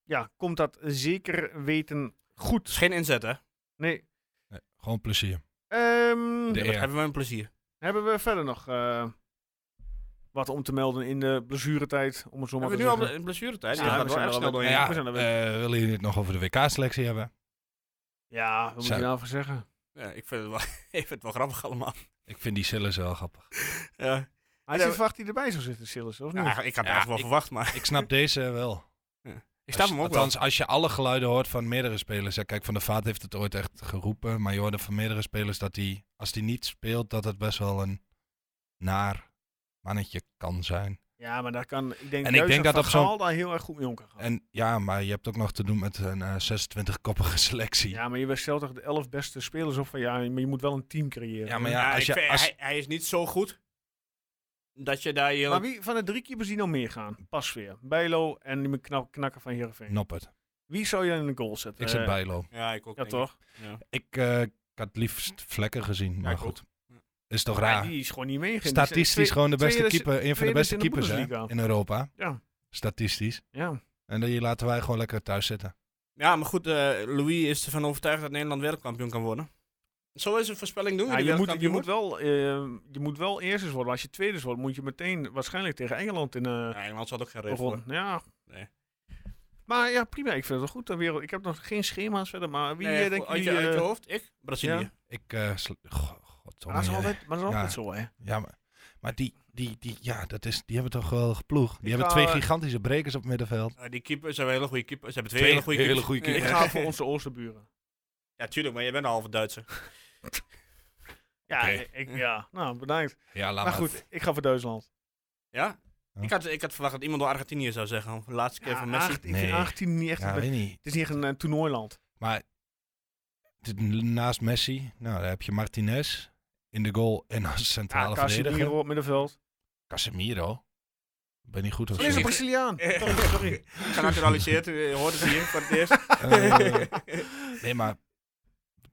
Speaker 1: ja, komt dat zeker weten
Speaker 4: is
Speaker 1: goed.
Speaker 4: geen inzet, hè?
Speaker 1: Nee.
Speaker 5: Nee, gewoon plezier.
Speaker 1: Ehm,
Speaker 5: De
Speaker 4: Dat
Speaker 5: eer.
Speaker 4: hebben we een plezier.
Speaker 1: hebben we verder nog eh, wat om te melden in de blessuretijd? Om het zo maar
Speaker 4: Hebben
Speaker 1: te
Speaker 4: we nu al
Speaker 1: zeggen.
Speaker 4: bl- een blessuretijd?
Speaker 1: Ja,
Speaker 4: Ja,
Speaker 1: we
Speaker 4: dat gaat wel
Speaker 1: zijn
Speaker 4: erg
Speaker 1: er
Speaker 4: snel
Speaker 1: al
Speaker 4: doorheen.
Speaker 1: mee.
Speaker 5: Ja,
Speaker 1: we zijn er
Speaker 5: eh, willen jullie het nog over de WK-selectie hebben?
Speaker 1: Ja, wat moet je
Speaker 5: Zo.
Speaker 1: nou voor zeggen?
Speaker 4: Ja, ik, vind het wel, ik vind het wel grappig allemaal.
Speaker 5: Ik vind die Sillis wel grappig.
Speaker 4: Ja.
Speaker 1: Hij
Speaker 4: Ja,
Speaker 1: zit verwacht die erbij zou zitten, Silas, of niet?
Speaker 4: Ja, ik had
Speaker 5: Ja,
Speaker 4: het echt wel
Speaker 5: ik-
Speaker 4: verwacht, maar
Speaker 5: Ik snap deze wel.
Speaker 4: ik snap hem ook wel.
Speaker 5: Althans, als je alle geluiden hoort van meerdere spelers. hè, kijk, Van der Vaart heeft het ooit echt geroepen. Maar je hoorde van meerdere spelers dat hij, als hij niet speelt, dat het best wel een naar mannetje kan zijn.
Speaker 1: ja, maar daar kan, ik denk,
Speaker 5: En ik
Speaker 1: juist
Speaker 5: denk dat
Speaker 1: Van
Speaker 5: op zo'n-
Speaker 1: Gaal daar heel erg goed mee om kan gaan.
Speaker 5: En ja, maar je hebt ook nog te doen met een 26-koppige selectie. Ja,
Speaker 1: Ja, maar je stelt toch de elf beste spelers op van ja, maar je moet wel een team creëren.
Speaker 5: maar ja, als
Speaker 4: ik
Speaker 5: je,
Speaker 4: vind-
Speaker 5: als,
Speaker 4: hij, hij is niet zo goed dat je daar je hele
Speaker 1: Maar wie van de drie keepers die nou meer gaan? Pas weer. Bijlo en die knap, knakker van Heerenveen.
Speaker 5: Noppert.
Speaker 1: Wie zou je in de goal zetten?
Speaker 5: Ik zit
Speaker 1: Eh,
Speaker 5: bijlo.
Speaker 4: Ja, ik ook.
Speaker 1: Ja,
Speaker 4: denk ik.
Speaker 1: toch?
Speaker 4: Ja.
Speaker 5: Ik, eh, ik had liefst vlekken gezien, maar
Speaker 4: ik
Speaker 5: goed.
Speaker 4: ook.
Speaker 5: Is toch
Speaker 1: Ja,
Speaker 5: raar?
Speaker 1: die is gewoon niet meegegaan. Die zijn twee-
Speaker 5: Statistisch gewoon de beste
Speaker 1: tweede-
Speaker 5: keeper, een van de
Speaker 1: tweede
Speaker 5: beste
Speaker 1: in de
Speaker 5: keepers hè,
Speaker 1: Bundesliga.
Speaker 5: in Europa.
Speaker 1: Ja.
Speaker 5: Statistisch.
Speaker 1: Ja.
Speaker 5: En die laten wij gewoon lekker thuis zitten.
Speaker 4: Ja, maar goed, eh, Louis is ervan overtuigd dat Nederland wereldkampioen kan worden. Zo is een voorspelling doen.
Speaker 1: Ja,
Speaker 4: wie de
Speaker 1: je, moet, je,
Speaker 4: wereldkampioen
Speaker 1: moet wel, eh, je moet wel eerst eens worden. maar Als je tweede wordt, moet je meteen waarschijnlijk tegen Engeland in eh
Speaker 4: wordt. Ja, Engeland zat ook geen reden voor.
Speaker 1: begonnen. Ja.
Speaker 4: Nee.
Speaker 1: Maar ja, prima. Ik vind het wel goed. De wereld. Ik heb nog geen schema's verder. Maar wie
Speaker 4: Nee,
Speaker 1: eh, denk
Speaker 4: uit,
Speaker 1: je...
Speaker 4: je, uit je hoofd? Ik? Brazilië.
Speaker 1: ja.
Speaker 5: Ik, eh sl- Go- goddomme,
Speaker 1: maar dat is
Speaker 5: joh.
Speaker 1: altijd, maar dat is
Speaker 5: Ja.
Speaker 1: altijd zo, hè.
Speaker 5: Ja, maar, maar die, die, die, ja, dat is, die hebben toch wel geploeg. Die
Speaker 1: Ik eh,
Speaker 5: hebben
Speaker 1: ga-
Speaker 5: twee gigantische brekers op het middenveld.
Speaker 4: Eh, die keeper, ze hebben hele goede keepers. Ze hebben twee,
Speaker 5: Twee
Speaker 4: hele goede
Speaker 5: hele
Speaker 4: keepers.
Speaker 5: goede
Speaker 1: Ik
Speaker 5: keepers.
Speaker 1: ga voor onze Oosterburen.
Speaker 4: Ja, tuurlijk, maar jij bent een halve Duitser.
Speaker 1: Ja,
Speaker 5: Oké. Ah,
Speaker 1: ik, ja. nou bedankt.
Speaker 5: Ja, laat
Speaker 1: Maar goed, ik ga voor Duitsland.
Speaker 4: Ja?
Speaker 5: Ja.
Speaker 4: Ik, had, ik had verwacht dat iemand door Argentinië zou zeggen. De laatste keer
Speaker 1: Ja,
Speaker 4: van Messi.
Speaker 1: Acht- ik vind
Speaker 5: Nee.
Speaker 1: 18 niet echt...
Speaker 5: Ja,
Speaker 1: een be-
Speaker 5: weet niet.
Speaker 1: het is niet echt een eh, toernooiland.
Speaker 5: Maar dit- naast Messi, nou, daar heb je Martinez in de goal en als centrale
Speaker 1: Ja,
Speaker 5: verdediger.
Speaker 1: Ah, Casemiro op middenveld.
Speaker 5: Casemiro. Ik ben niet goed of
Speaker 1: Dat is een
Speaker 5: zo.
Speaker 1: Braziliaan. Sorry, sorry.
Speaker 4: Genaturaliseerd, eh, hoorden ze hier voor het eerst.
Speaker 5: Eh, nee, maar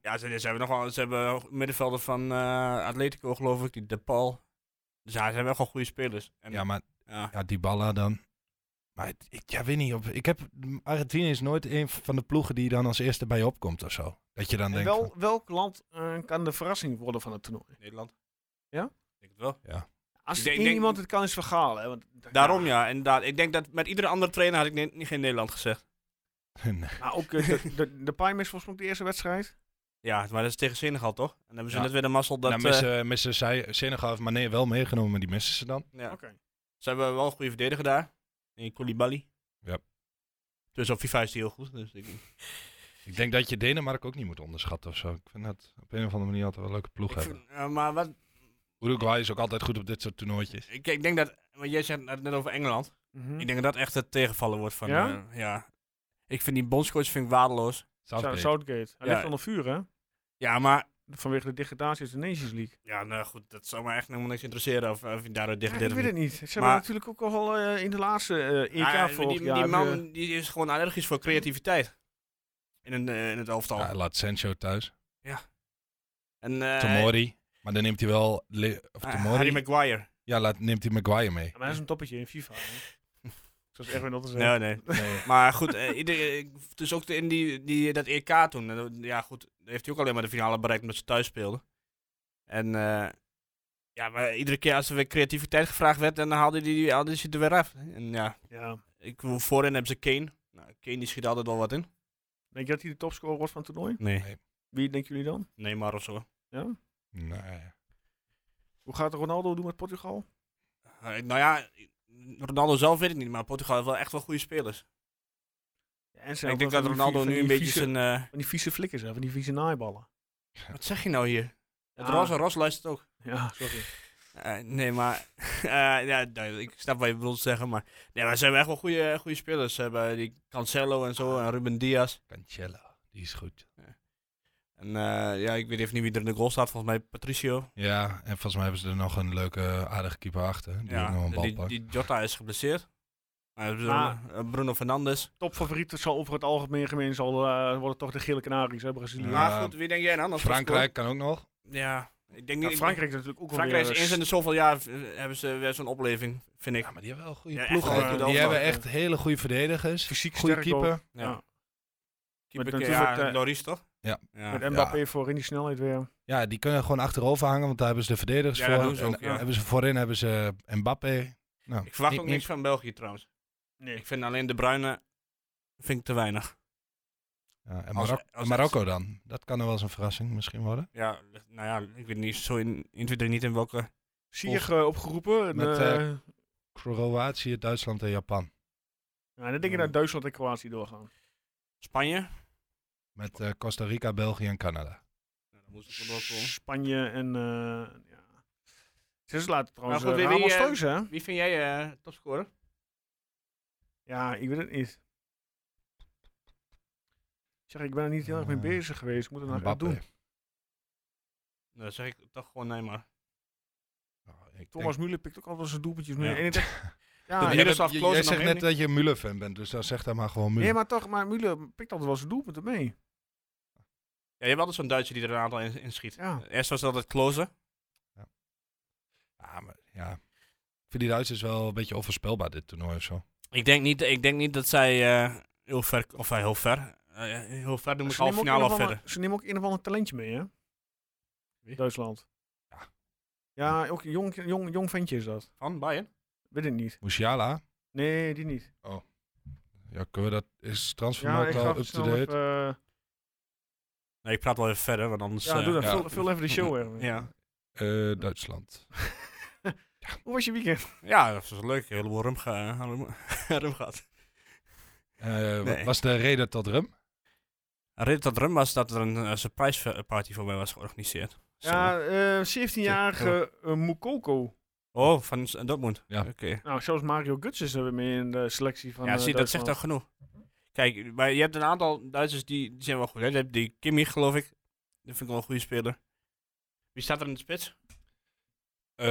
Speaker 4: ja, ze, ze hebben nog wel, ze hebben middenvelden van eh, Atletico, geloof ik, die De Paul. Dus ja, ze hebben wel gewoon goede spelers. En,
Speaker 5: Ja, maar
Speaker 4: ja.
Speaker 5: ja, Dybala dan. Maar het- ik ja, weet niet. Op, ik heb, Argentinië is nooit een van de ploegen die dan als eerste bij je opkomt of zo. Dat je dan
Speaker 1: En
Speaker 5: denkt,
Speaker 1: wel,
Speaker 5: van,
Speaker 1: welk land eh, kan de verrassing worden van het toernooi?
Speaker 4: Nederland.
Speaker 1: Ja?
Speaker 4: Ik denk het wel.
Speaker 1: Als
Speaker 4: Ik denk-
Speaker 1: één
Speaker 4: denk-
Speaker 1: iemand het kan, is vergaal. Hè? Want,
Speaker 4: Daarom ja, inderdaad. Ik denk dat met iedere andere trainer had ik ne- geen Nederland gezegd.
Speaker 5: nee.
Speaker 1: Maar ook eh, de, de, de Palm is volgens mij ook de eerste wedstrijd.
Speaker 4: Ja, maar dat is tegen Senegal toch? En dan hebben ze
Speaker 5: Ja.
Speaker 4: net weer de mazzel dat...
Speaker 5: nou,
Speaker 4: eh,
Speaker 5: missen, missen zij, Senegal heeft Mané wel meegenomen, maar die missen ze dan.
Speaker 4: eh, ja.
Speaker 1: Oké.
Speaker 4: Ze hebben wel een goede verdediger daar. In Koulibaly.
Speaker 5: Ja.
Speaker 4: Dus op FIFA is die heel goed. Dus ik,
Speaker 5: Ik denk dat je Denemarken ook niet moet onderschatten of zo. Ik vind dat op een of andere manier altijd wel een leuke ploeg
Speaker 4: ik
Speaker 5: hebben.
Speaker 4: vind- eh, maar wat,
Speaker 5: Uruguay is ook altijd goed op dit soort toernooitjes.
Speaker 4: ik, ik denk dat... Want jij zegt het net over Engeland.
Speaker 1: Mhm.
Speaker 4: Ik denk dat dat echt het tegenvallen wordt van...
Speaker 1: Ja?
Speaker 4: Ja? ja. Ik vind die bondscoach vind ik waardeloos.
Speaker 1: Sa-
Speaker 5: Southgate.
Speaker 1: Southgate. Hij
Speaker 4: Ja.
Speaker 1: ligt onder vuur, hè?
Speaker 4: Ja, maar...
Speaker 1: Vanwege de degradatie uit de Nations League.
Speaker 4: Ja, nou goed. Dat zou me echt helemaal niks interesseren of, of je daaruit dicht
Speaker 1: Ja, ik weet het niet. Ze hebben
Speaker 4: Maar-
Speaker 1: natuurlijk ook al eh, in de laatste eh, EK
Speaker 4: Nou Ja, die-
Speaker 1: vorig
Speaker 4: die,
Speaker 1: jaar. eh,
Speaker 4: die
Speaker 1: hebben-
Speaker 4: man die is gewoon allergisch voor creativiteit. In, een, eh, in het elftal.
Speaker 5: Ja, laat Sancho thuis.
Speaker 4: en, eh,
Speaker 5: Tomori. Maar dan neemt hij wel... Le- of
Speaker 4: eh,
Speaker 5: Tomori.
Speaker 4: Harry Maguire.
Speaker 5: ja, laat, neemt hij Maguire mee.
Speaker 1: Ja, maar hij is een toppetje in FIFA. hè. Zoals Erwin dat al zei.
Speaker 4: Nee, nee. maar goed, eh, ieder, ik- dus ook de- in die, die, dat EK toen. eh, Ja, goed. Heeft hij ook alleen maar de finale bereikt omdat ze thuis speelden. En eh, ja, maar iedere keer als er weer creativiteit gevraagd werd, dan haalde hij die- haalde hij ze er weer af. En ja,
Speaker 1: Ja.
Speaker 4: ik, voorin hebben ze Kane. Nou, Kane die schiet altijd wel wat in.
Speaker 1: Denk je dat hij de topscorer wordt van het toernooi?
Speaker 4: Nee.
Speaker 1: Wie denken jullie dan?
Speaker 4: Nee, maar of zo.
Speaker 1: Ja?
Speaker 5: Nee.
Speaker 1: Hoe gaat Ronaldo doen met Portugal?
Speaker 4: Eh, nou ja, Ronaldo zelf weet ik niet, maar Portugal heeft wel echt wel goede spelers.
Speaker 1: En ze hebben
Speaker 4: Ik denk
Speaker 1: van die
Speaker 4: dat Ronaldo
Speaker 1: vie- van
Speaker 4: nu
Speaker 1: die
Speaker 4: een beetje
Speaker 1: vieze-
Speaker 4: zijn... eh,
Speaker 1: Van die vieze flikkers, hè? van die vieze naaiballen.
Speaker 4: wat zeg je nou hier? Het
Speaker 1: Ja.
Speaker 4: Ros, Ros luistert ook.
Speaker 1: Ja, sorry.
Speaker 4: Eh, nee, maar... eh, ja, nou, ik snap wat je bedoelt zeggen, maar... Nee, maar ze hebben echt wel goede, goede spelers. Ze hebben die Cancelo en zo, en Ruben Diaz.
Speaker 5: Cancelo. Die is goed.
Speaker 4: Eh, En eh, ja, ik weet even niet wie er in de goal staat. Volgens mij Patricio.
Speaker 5: Ja, en volgens mij hebben ze er nog een leuke, aardige keeper achter. Die ook nog een
Speaker 4: Ja,
Speaker 5: bal
Speaker 4: die,
Speaker 5: pakt.
Speaker 4: die Jota is geblesseerd. Maar Bruno, eh, Bruno Fernandes.
Speaker 1: Topfavoriet zal over het algemeen gemeen zal, eh, worden toch de gele Canaries, hè, Brazilië.
Speaker 5: Ja,
Speaker 4: maar goed, wie denk jij dan? Als
Speaker 5: Frankrijk kan ook nog.
Speaker 4: Ja, ik denk
Speaker 1: Ja,
Speaker 4: niet.
Speaker 1: Frankrijk is natuurlijk ook wel
Speaker 4: Frankrijk
Speaker 1: weer,
Speaker 4: is eens
Speaker 1: eh,
Speaker 4: in de zoveel jaar eh, hebben ze weer zo'n opleving, vind ik.
Speaker 5: Ja, maar die hebben wel goede
Speaker 4: Ja, echt
Speaker 5: ploegen.
Speaker 4: wel
Speaker 5: ook.
Speaker 4: goed
Speaker 5: die hebben
Speaker 1: elftal,
Speaker 5: echt hele goede verdedigers.
Speaker 1: fysiek
Speaker 5: Goede
Speaker 1: sterk ook.
Speaker 5: keeper.
Speaker 4: Ja.
Speaker 1: Ja.
Speaker 4: Keeper,
Speaker 1: Met
Speaker 4: ja,
Speaker 1: natuurlijk, eh,
Speaker 4: Loris toch?
Speaker 5: Ja.
Speaker 1: Met Mbappé voor in die snelheid weer.
Speaker 5: Ja, die kunnen gewoon achterover hangen, want daar hebben ze de verdedigers
Speaker 4: Ja,
Speaker 5: voor.
Speaker 4: dat doen ze
Speaker 5: En
Speaker 4: ook, ja.
Speaker 5: hebben ze voorin hebben ze Mbappé. Nou,
Speaker 4: Ik verwacht
Speaker 5: niet-
Speaker 4: ook
Speaker 5: niet-
Speaker 4: niks van België trouwens.
Speaker 1: Nee.
Speaker 4: Ik vind alleen de Bruyne vind ik te weinig.
Speaker 5: Ja, en
Speaker 4: Als-
Speaker 5: Marok-
Speaker 4: als-
Speaker 5: Marokko dan. Dat kan er wel eens een verrassing misschien worden.
Speaker 4: Ja, nou ja, ik weet niet zo in, in Twitter niet in welke.
Speaker 1: Sier eh, opgeroepen. En,
Speaker 5: Met,
Speaker 1: eh,
Speaker 5: eh, Kroatië, Duitsland en Japan.
Speaker 1: ja, en dan denk ik naar Duitsland en Kroatië doorgaan.
Speaker 4: Spanje.
Speaker 5: Met eh, Costa Rica, België en Canada.
Speaker 4: Nou, dat moest ik wel komen.
Speaker 1: Spanje en... eh ja. Ze laten trouwens
Speaker 4: goed,
Speaker 1: eh,
Speaker 4: wie- wie,
Speaker 1: Ramos
Speaker 4: eh,
Speaker 1: thuis, hè?
Speaker 4: Wie vind jij eh topscorer?
Speaker 1: Ja, ik weet het niet. Ik Zeg, ik ben er niet heel erg mee
Speaker 5: Eh,
Speaker 1: bezig geweest. Ik moet het nou echt
Speaker 5: Mbappé.
Speaker 1: doen.
Speaker 4: Nou, dat zeg ik toch gewoon nee maar.
Speaker 5: Nou, ik
Speaker 1: Thomas Müller pikt ook altijd zijn doelpuntjes mee.
Speaker 4: Ja.
Speaker 1: En ik denk- ja,
Speaker 4: Dat
Speaker 5: denk-
Speaker 1: ja,
Speaker 4: Müller
Speaker 5: dat-
Speaker 4: zag
Speaker 5: j-
Speaker 4: Klose
Speaker 5: jij
Speaker 4: nog
Speaker 5: zegt
Speaker 4: helemaal
Speaker 5: net dat je een Müller-fan bent, dus dan zeg dan maar gewoon Müller.
Speaker 1: nee, maar toch, maar Müller pikt altijd wel zijn doelpunten mee.
Speaker 4: Ja, je hebt altijd zo'n Duitser die er een aantal in, in schiet.
Speaker 1: Ja.
Speaker 4: Eerst was dat het Klose.
Speaker 5: Ja, Ah, maar ja. Ik vind die Duitsers wel een beetje onvoorspelbaar, dit toernooi of zo.
Speaker 4: Ik denk niet, ik denk niet dat zij eh, heel ver, of hij heel ver, Eh, heel ver noem ik
Speaker 1: Ze nemen
Speaker 4: halve
Speaker 1: ook
Speaker 4: finale
Speaker 1: een of
Speaker 4: of
Speaker 1: ander-
Speaker 4: verder.
Speaker 1: Ze nemen ook een of ander talentje mee, hè?
Speaker 4: Wie?
Speaker 1: Duitsland.
Speaker 5: Ja.
Speaker 1: Ja, ook een jong, jong, jong ventje is dat.
Speaker 4: Van Bayern?
Speaker 1: Weet ik niet.
Speaker 5: Musiala,
Speaker 1: Nee, die niet.
Speaker 5: ja, kunnen we dat, is
Speaker 1: Ja,
Speaker 5: transfermarkt
Speaker 1: ik ga
Speaker 5: wel
Speaker 1: even snel
Speaker 5: up-to-date?
Speaker 1: even, eh,
Speaker 4: Nee, ik praat wel even verder, want anders...
Speaker 1: ja,
Speaker 4: eh,
Speaker 1: doe dat.
Speaker 5: ja.
Speaker 1: Vul, vul even de show even.
Speaker 4: Ja.
Speaker 5: Eh, Duitsland.
Speaker 1: Hoe was je weekend?
Speaker 4: Ja, dat was leuk. Een heleboel rum, ge- eh, rum- rum gehad.
Speaker 5: Eh, wat
Speaker 4: Nee.
Speaker 5: was de reden tot rum?
Speaker 4: De reden dat rum was dat er een eh, surprise party voor mij was georganiseerd. Zo.
Speaker 1: Ja, eh 17-jarige eh, Mukoko.
Speaker 4: Oh, van S- Dortmund.
Speaker 5: Ja.
Speaker 4: Oké.
Speaker 1: Nou, zelfs Mario Guts is er weer mee in de selectie van
Speaker 4: Ja,
Speaker 1: eh,
Speaker 4: zie, dat zegt
Speaker 1: Duitsland.
Speaker 4: al genoeg. Kijk, maar je hebt een aantal Duitsers die, die zijn wel goed. Hè? Je hebt die Kimmich, geloof ik. Dat vind ik wel een goede speler. Wie staat er in de spits?
Speaker 5: Eh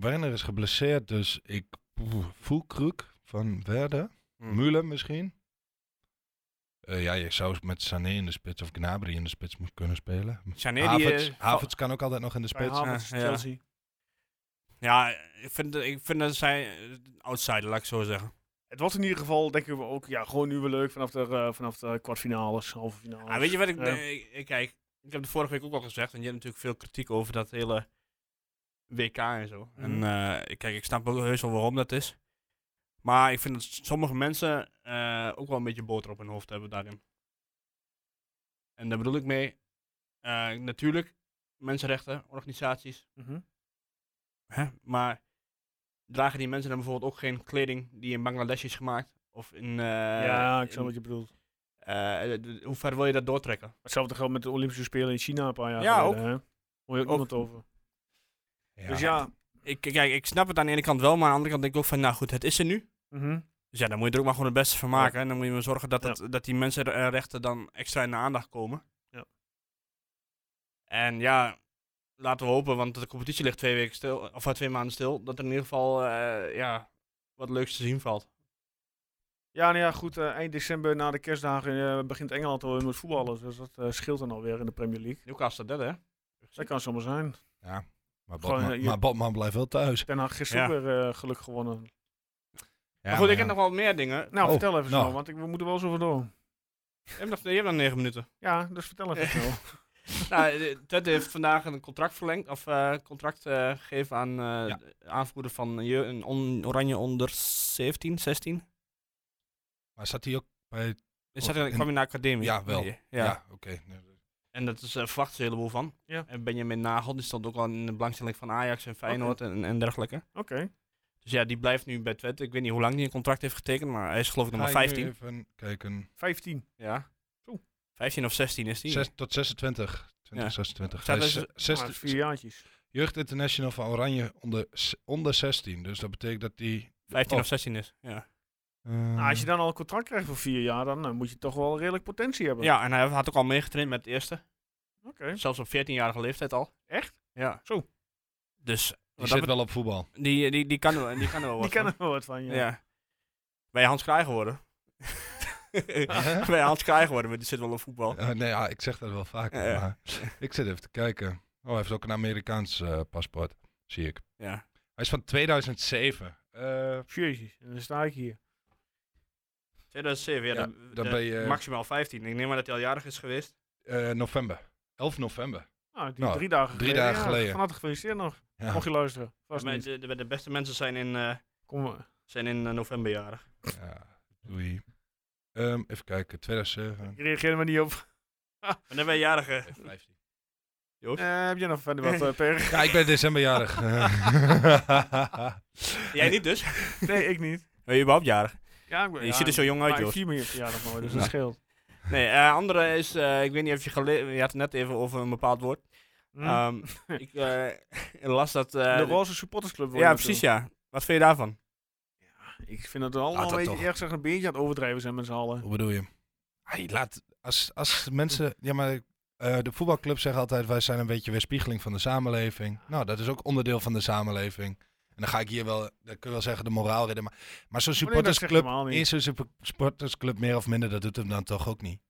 Speaker 5: Werner is geblesseerd, dus ik voel Kruk van Werder.
Speaker 4: Hmm.
Speaker 5: Müller misschien. Eh, ja, je zou met Sané in de spits of Gnabry in de spits moeten kunnen spelen.
Speaker 4: Sané, die...
Speaker 5: Havertz,
Speaker 4: eh,
Speaker 5: Havertz kan ook altijd nog in de
Speaker 1: Bij
Speaker 5: spits.
Speaker 1: Havertz,
Speaker 4: Ja, ja.
Speaker 1: Chelsea.
Speaker 4: Ja, ik vind, dat- ik vind dat zij eh, een outsider, laat ik zo zeggen.
Speaker 1: Het was in ieder geval, denken we ook, ja, gewoon nu weer leuk vanaf de, eh, vanaf de kwartfinales, halve finales.
Speaker 4: Ah, weet je wat ik,
Speaker 1: Ja.
Speaker 4: nee, ik, ik- Kijk, ik heb de vorige week ook al gezegd. En je hebt natuurlijk veel kritiek over dat hele WK en zo. En
Speaker 1: Mhm.
Speaker 4: eh, ik- kijk, ik snap ook heus wel waarom dat is. Maar ik vind dat s- sommige mensen eh, ook wel een beetje boter op hun hoofd hebben daarin. En daar bedoel ik mee. eh, natuurlijk, mensenrechten, organisaties.
Speaker 1: Mhm.
Speaker 4: Hè? Maar dragen die mensen dan bijvoorbeeld ook geen kleding die in Bangladesh is gemaakt? Of in. eh,
Speaker 1: ja, ik snap
Speaker 4: in-
Speaker 1: wat je bedoelt.
Speaker 4: eh, d- d- hoe ver wil je dat doortrekken?
Speaker 1: Hetzelfde geldt met de Olympische Spelen in China een paar jaar
Speaker 4: Ja,
Speaker 1: geleden. Hè? Hoor je ook
Speaker 4: Ook.
Speaker 1: niemand over.
Speaker 5: Ja.
Speaker 1: Dus ja,
Speaker 4: ik, kijk, ik snap het aan de ene kant wel, maar aan de andere kant denk ik ook van, nou goed, het is er nu.
Speaker 1: mhm.
Speaker 4: Dus ja, dan moet je er ook maar gewoon het beste van maken. En dan moet je maar zorgen dat,
Speaker 1: Ja.
Speaker 4: het, dat die mensenrechten dan extra in de aandacht komen.
Speaker 1: Ja.
Speaker 4: En ja, laten we hopen, want de competitie ligt twee, weken stil, of eh, twee maanden stil, dat er in ieder geval eh, ja, wat leuks te zien valt.
Speaker 1: ja, nou ja, goed, eh, eind december na de kerstdagen eh, begint Engeland alweer met voetballen. Dus dat eh, scheelt dan alweer in de Premier League.
Speaker 4: Newcastle derde, hè?
Speaker 1: Dat kan zomaar zijn.
Speaker 5: Ja, maar
Speaker 1: Gewoon,
Speaker 5: Botman,
Speaker 1: eh, je-
Speaker 5: maar Botman blijft wel thuis.
Speaker 1: Den Haag gisteren ook weer eh, geluk gewonnen.
Speaker 4: maar goed, ik heb nog wel meer dingen.
Speaker 1: Nou,
Speaker 5: Oh,
Speaker 1: vertel even
Speaker 5: nou.
Speaker 1: snel, want ik, we moeten wel zo door.
Speaker 4: Je hebt nog, je hebt nog negen minuten.
Speaker 1: Ja, dus vertel
Speaker 5: Eh.
Speaker 1: even snel.
Speaker 4: nou, eh, Ted heeft vandaag een contract verlengd, of eh, contract eh, gegeven aan eh
Speaker 5: Ja.
Speaker 4: de aanvoerder van je, een on- Oranje onder 17, 16.
Speaker 5: Maar zat hij ook bij...
Speaker 4: Is dat,
Speaker 5: Of in-
Speaker 4: kwam je naar academie?
Speaker 5: Ja, wel.
Speaker 4: Nee,
Speaker 5: Ja,
Speaker 4: Ja.
Speaker 5: oké.
Speaker 4: En dat is, eh, verwacht ze een heleboel van.
Speaker 1: Ja.
Speaker 4: En Benjamin Nagel, die stond ook al in de belangstelling van Ajax en Feyenoord en, en dergelijke.
Speaker 1: Oké.
Speaker 4: Dus ja, die blijft nu bij Twente. Ik weet niet hoe lang die een contract heeft getekend, maar hij is geloof ik nog maar
Speaker 5: Ga ik nu
Speaker 4: 15.
Speaker 5: Even kijken.
Speaker 1: 15.
Speaker 4: Ja.
Speaker 1: Zo.
Speaker 4: 15 of 16 is die.
Speaker 5: Zes, tot 26. 20,
Speaker 4: Ja.
Speaker 5: 26.
Speaker 4: Staat
Speaker 5: Hij is
Speaker 4: er-
Speaker 5: ze- zes-
Speaker 1: Ah, dus vier jaartjes.
Speaker 5: Jeugd International van Oranje onder, s- onder 16. Dus dat betekent dat die... ehm,
Speaker 4: 15
Speaker 5: Oh.
Speaker 4: of 16 is. Ja. Ah,
Speaker 1: Nou, als je dan al een contract krijgt voor vier jaar, dan eh, moet je toch wel redelijk potentie hebben.
Speaker 4: ja, en hij had ook al meegetraind met het eerste. Zelfs op 14-jarige leeftijd al.
Speaker 1: Echt?
Speaker 4: Ja.
Speaker 1: Zo.
Speaker 4: Dus
Speaker 5: Die
Speaker 4: wat dat
Speaker 5: zit wel op voetbal.
Speaker 4: bet- die, die, die kan er wel- die kan er wel wat
Speaker 1: Die kan
Speaker 4: van.
Speaker 1: er wel wat van, ja.
Speaker 4: Ja. Ben je Hans Kraai geworden? ben je Hans Kraai geworden, maar die zit wel op voetbal.
Speaker 5: Eh, nee, ja, ik zeg dat wel vaak.
Speaker 4: Ja, ja.
Speaker 5: Maar ik zit even te kijken. Oh, hij heeft ook een Amerikaans eh, paspoort, zie ik.
Speaker 4: Ja.
Speaker 5: Hij is van 2007. Eh,
Speaker 1: Jezus, en dan sta ik hier.
Speaker 4: 2007, ja.
Speaker 5: Ja,
Speaker 4: dan,
Speaker 5: dan
Speaker 4: eh,
Speaker 5: ben je-
Speaker 4: Maximaal 15. Ik neem maar dat hij al jarig is geweest.
Speaker 5: eh, november. 11 november.
Speaker 1: Nou, die
Speaker 5: Nou,
Speaker 1: drie dagen
Speaker 5: drie
Speaker 1: geleden.
Speaker 5: dagen
Speaker 1: ja.
Speaker 5: geleden.
Speaker 1: Van harte gefeliciteerd nog.
Speaker 5: Ja.
Speaker 1: Mocht je luisteren. Vast
Speaker 4: Maar
Speaker 1: niet.
Speaker 4: de, de, de beste mensen zijn in, eh,
Speaker 1: Kom, eh,
Speaker 4: zijn in eh, november jarig.
Speaker 5: Ja, doei. Ehm, even kijken, 2007.
Speaker 1: ik reageer er maar niet op.
Speaker 4: En dan ben je jarige.
Speaker 5: 15.
Speaker 1: Eh, heb jij nog verder wat, eh, Per?
Speaker 5: Ja, ik ben decemberjarig.
Speaker 4: Jij niet dus?
Speaker 1: Nee, ik niet.
Speaker 4: Ben je überhaupt jarig?
Speaker 1: Ja, ik ben,
Speaker 4: Je ziet er zo jong uit,
Speaker 1: joh. Ik
Speaker 4: Joost.
Speaker 1: vier meer verjaardag nooit, dus dat scheelt.
Speaker 4: Nee, eh, andere is, eh, ik weet niet of je gelezen, je had het net even over een bepaald woord.
Speaker 1: Hm?
Speaker 4: Ehm, ik eh, las dat... eh,
Speaker 1: de Roze Supportersclub. wil je
Speaker 4: ja,
Speaker 1: naartoe.
Speaker 4: precies ja. Wat vind je daarvan?
Speaker 1: Ik vind het allemaal
Speaker 5: Laat
Speaker 1: een
Speaker 5: dat
Speaker 1: beetje
Speaker 5: toch.
Speaker 1: erg zeggen, een beetje aan het overdrijven zijn met z'n allen.
Speaker 5: Hoe bedoel je? Hij laat, als, als mensen, ja maar eh, de voetbalclubs zeggen altijd, wij zijn een beetje weerspiegeling van de samenleving. Nou, dat is ook onderdeel van de samenleving. En dan ga ik hier wel, dan kun je wel zeggen, de moraal redden. Maar, maar zo'n
Speaker 1: Oh, nee, dat zegt
Speaker 5: supportersclub,
Speaker 1: helemaal niet.
Speaker 5: is een super- supportersclub meer of minder, dat doet hem dan toch ook niet.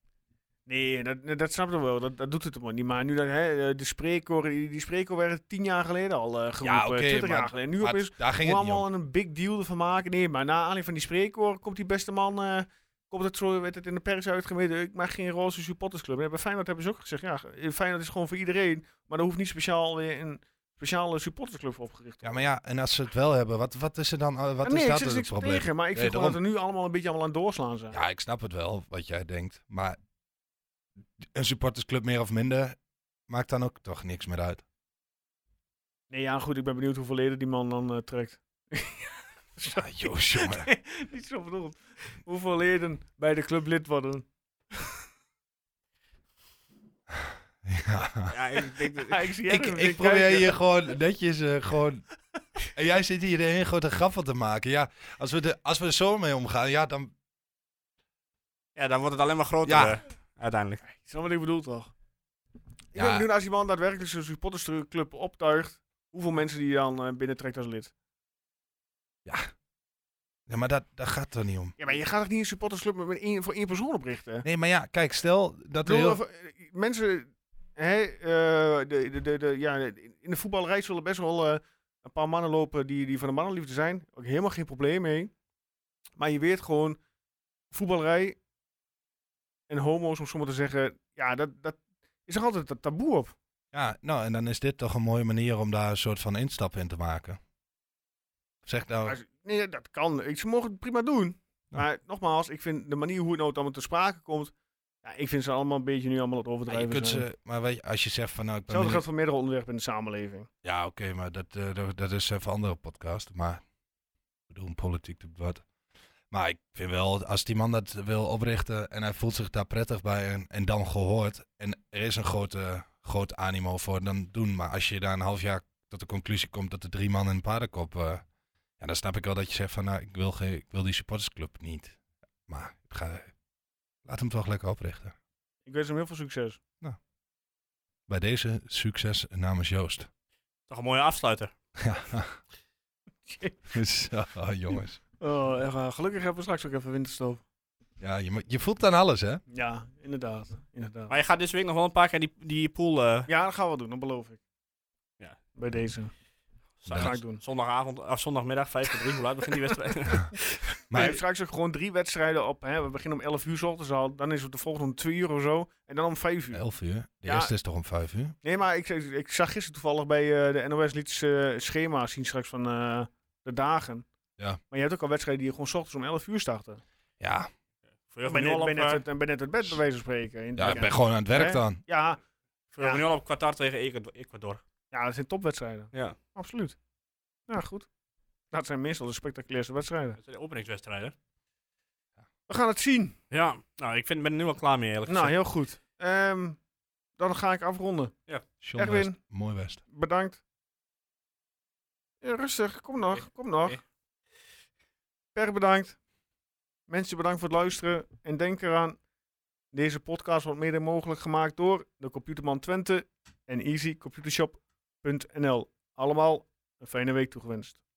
Speaker 1: Nee, dat, dat snap ik wel. Dat, dat doet het helemaal niet. Maar nu dat, hè, eh, de spreekkoor, die, die spreekkoor werd tien jaar geleden al eh geroepen.
Speaker 5: oké,
Speaker 1: twintig jaar
Speaker 5: maar-
Speaker 1: geleden. Nu
Speaker 5: Maar
Speaker 1: opeens
Speaker 5: daar ging
Speaker 1: hoe
Speaker 5: het niet om.
Speaker 1: allemaal een big deal ervan maken. Nee, maar na aanleiding van die spreekkoor komt die beste man... eh, komt het zo, werd het in de pers uitgemeten. Ik maak geen roze supportersclub. Nee, bij Feyenoord hebben ze ook gezegd, ja, eh, Feyenoord is gewoon voor iedereen. Maar er hoeft niet speciaal weer een speciale supportersclub voor opgericht te
Speaker 5: Ja,
Speaker 1: worden.
Speaker 5: maar ja, en als ze het wel hebben, wat, wat is er dan, eh, wat
Speaker 1: nee,
Speaker 5: is
Speaker 1: ik
Speaker 5: dat
Speaker 1: zit er
Speaker 5: dan het
Speaker 1: niks
Speaker 5: probleem?
Speaker 1: tegen. Maar ik
Speaker 5: Nee,
Speaker 1: vind gewoon
Speaker 5: daarom.
Speaker 1: dat er nu allemaal een beetje allemaal aan het doorslaan zijn.
Speaker 5: Ja, ik snap het wel, wat jij denkt. Maar een supportersclub meer of minder maakt dan ook toch niks meer uit.
Speaker 1: Nee, ja, goed. Ik ben benieuwd hoeveel leden die man dan eh, trekt.
Speaker 5: Ja, Joost, jongen.
Speaker 1: Niet zo bedoeld. Hoeveel leden bij de club lid worden.
Speaker 5: Ja.
Speaker 4: Ja, ik denk dat...
Speaker 1: Ja, ik, zie
Speaker 5: Ik,
Speaker 1: Edwin
Speaker 5: ik
Speaker 1: weer
Speaker 5: probeer
Speaker 1: kijken.
Speaker 5: hier gewoon netjes eh, gewoon... En jij zit hier een grote grap van te maken. Ja, als we, de, als we er zo mee omgaan, ja, dan...
Speaker 4: Ja, dan wordt het alleen maar groter
Speaker 5: Ja.
Speaker 4: eh, uiteindelijk.
Speaker 1: Ik snap wat ik bedoel, toch? Ik
Speaker 5: Ja.
Speaker 1: ben benieuwd als iemand daadwerkelijk zijn supportersclub optuigt... hoeveel mensen die je dan eh, binnentrekt als lid.
Speaker 5: Ja, maar dat, dat gaat er niet om.
Speaker 1: Ja, maar je gaat toch niet een supportersclub met één, voor één persoon oprichten? Ik
Speaker 5: Nee, maar ja, kijk, stel dat er
Speaker 1: bedoel,
Speaker 5: heel...
Speaker 1: of, eh, mensen... Hè, eh, de, de, de, de, ja, in de voetballerij zullen best wel eh, een paar mannen lopen die, die van de mannenliefde zijn. Ook helemaal geen probleem mee. Maar je weet gewoon, voetballerij en homo's, om zo maar te zeggen... Ja, dat, dat is er altijd dat taboe op.
Speaker 5: Ja, nou, en dan is dit toch een mooie manier om daar een soort van instap in te maken. Zeg nou...
Speaker 1: Maar- Nee, dat kan. Ik, ze mogen het prima doen.
Speaker 5: Ja.
Speaker 1: Maar nogmaals, ik vind de manier hoe het nou allemaal te sprake komt... Ja, ik vind ze allemaal een beetje nu allemaal het
Speaker 5: Ja, je
Speaker 1: overdrijven.
Speaker 5: kunt
Speaker 1: zijn.
Speaker 5: ze, maar weet je, als je zegt van nou, ik
Speaker 1: Hetzelfde
Speaker 5: ben benieuwd-
Speaker 1: geldt voor meerdere onderwerpen in de samenleving.
Speaker 5: Ja, oké, maar dat, eh, dat, dat is even een andere podcast. Maar we doen politiek te wat. Maar ik vind wel, als die man dat wil oprichten en hij voelt zich daar prettig bij en, en dan gehoord. En er is een grote, groot animo voor, dan doen. Maar als je daar een half jaar tot de conclusie komt dat er drie man in een paardenkop... eh, ja, dan snap ik wel dat je zegt van, nou, ik wil, geen, ik wil die supportersclub niet. Maar ik ga, laat hem toch lekker oprichten.
Speaker 1: Ik wens hem heel veel succes.
Speaker 5: Bij deze, succes namens Joost.
Speaker 4: Toch een mooie afsluiter.
Speaker 5: Ja. Zo, jongens.
Speaker 1: Oh, echt waar. gelukkig hebben we straks ook even winterstop.
Speaker 5: Ja, je, mo- je voelt dan alles, hè?
Speaker 1: Ja, inderdaad. inderdaad.
Speaker 4: Maar je gaat deze week nog wel een paar keer die, die pool... eh,
Speaker 1: Ja, dat gaan we doen, dat beloof ik.
Speaker 4: Ja.
Speaker 1: Bij deze. Dat
Speaker 5: Ja.
Speaker 1: ga ik doen.
Speaker 4: Zondagavond, of zondagmiddag, 5 voor 3, hoe laat begint die wedstrijd?
Speaker 1: Maar je
Speaker 5: Maar
Speaker 1: hebt straks ook gewoon drie wedstrijden op. Hè. We beginnen om 11 uur 's ochtends al. Dan is het de volgende om 2 uur of zo. En dan om 5 uur.
Speaker 5: 11 uur. De
Speaker 1: Ja.
Speaker 5: eerste is toch om 5 uur?
Speaker 1: Nee, maar ik, ik zag gisteren toevallig bij eh, de NOS liet eh schema zien straks van eh, de dagen.
Speaker 5: Ja.
Speaker 1: Maar je hebt ook al wedstrijden die gewoon 's ochtends om 11 uur starten.
Speaker 5: Ja,
Speaker 4: Verheug me
Speaker 1: ben,
Speaker 4: nu al
Speaker 1: net,
Speaker 4: op,
Speaker 1: ben, net,
Speaker 4: eh,
Speaker 1: uit- ben net uit bed bij wijze van spreken. In het
Speaker 5: ja ik ben
Speaker 1: weekend.
Speaker 5: gewoon aan het werk
Speaker 1: Hè?
Speaker 5: dan.
Speaker 1: ja,
Speaker 4: verheug me
Speaker 1: Ja.
Speaker 4: nu al op Qatar tegen Ecuador- Ecuador.
Speaker 1: ja, dat zijn topwedstrijden.
Speaker 4: Ja.
Speaker 1: Absoluut. Ja, goed. Dat zijn meestal de spectaculairste wedstrijden.
Speaker 4: Dat zijn de openingswedstrijden.
Speaker 1: We gaan het zien.
Speaker 4: Ja, nou, ik vind, ben er nu al klaar mee eerlijk
Speaker 1: Nou,
Speaker 4: gezegd.
Speaker 1: heel goed. Ehm, dan ga ik afronden.
Speaker 5: John
Speaker 1: Erwin.
Speaker 5: West, mooi West.
Speaker 1: Bedankt. Ja, rustig, kom nog,
Speaker 4: Oké.
Speaker 1: kom nog.
Speaker 4: Oké.
Speaker 1: Per bedankt. Mensen bedankt voor het luisteren. En denk eraan, Deze podcast wordt mede mogelijk gemaakt door de Computerman Twente en easycomputershop.nl. Allemaal een fijne week toegewenst.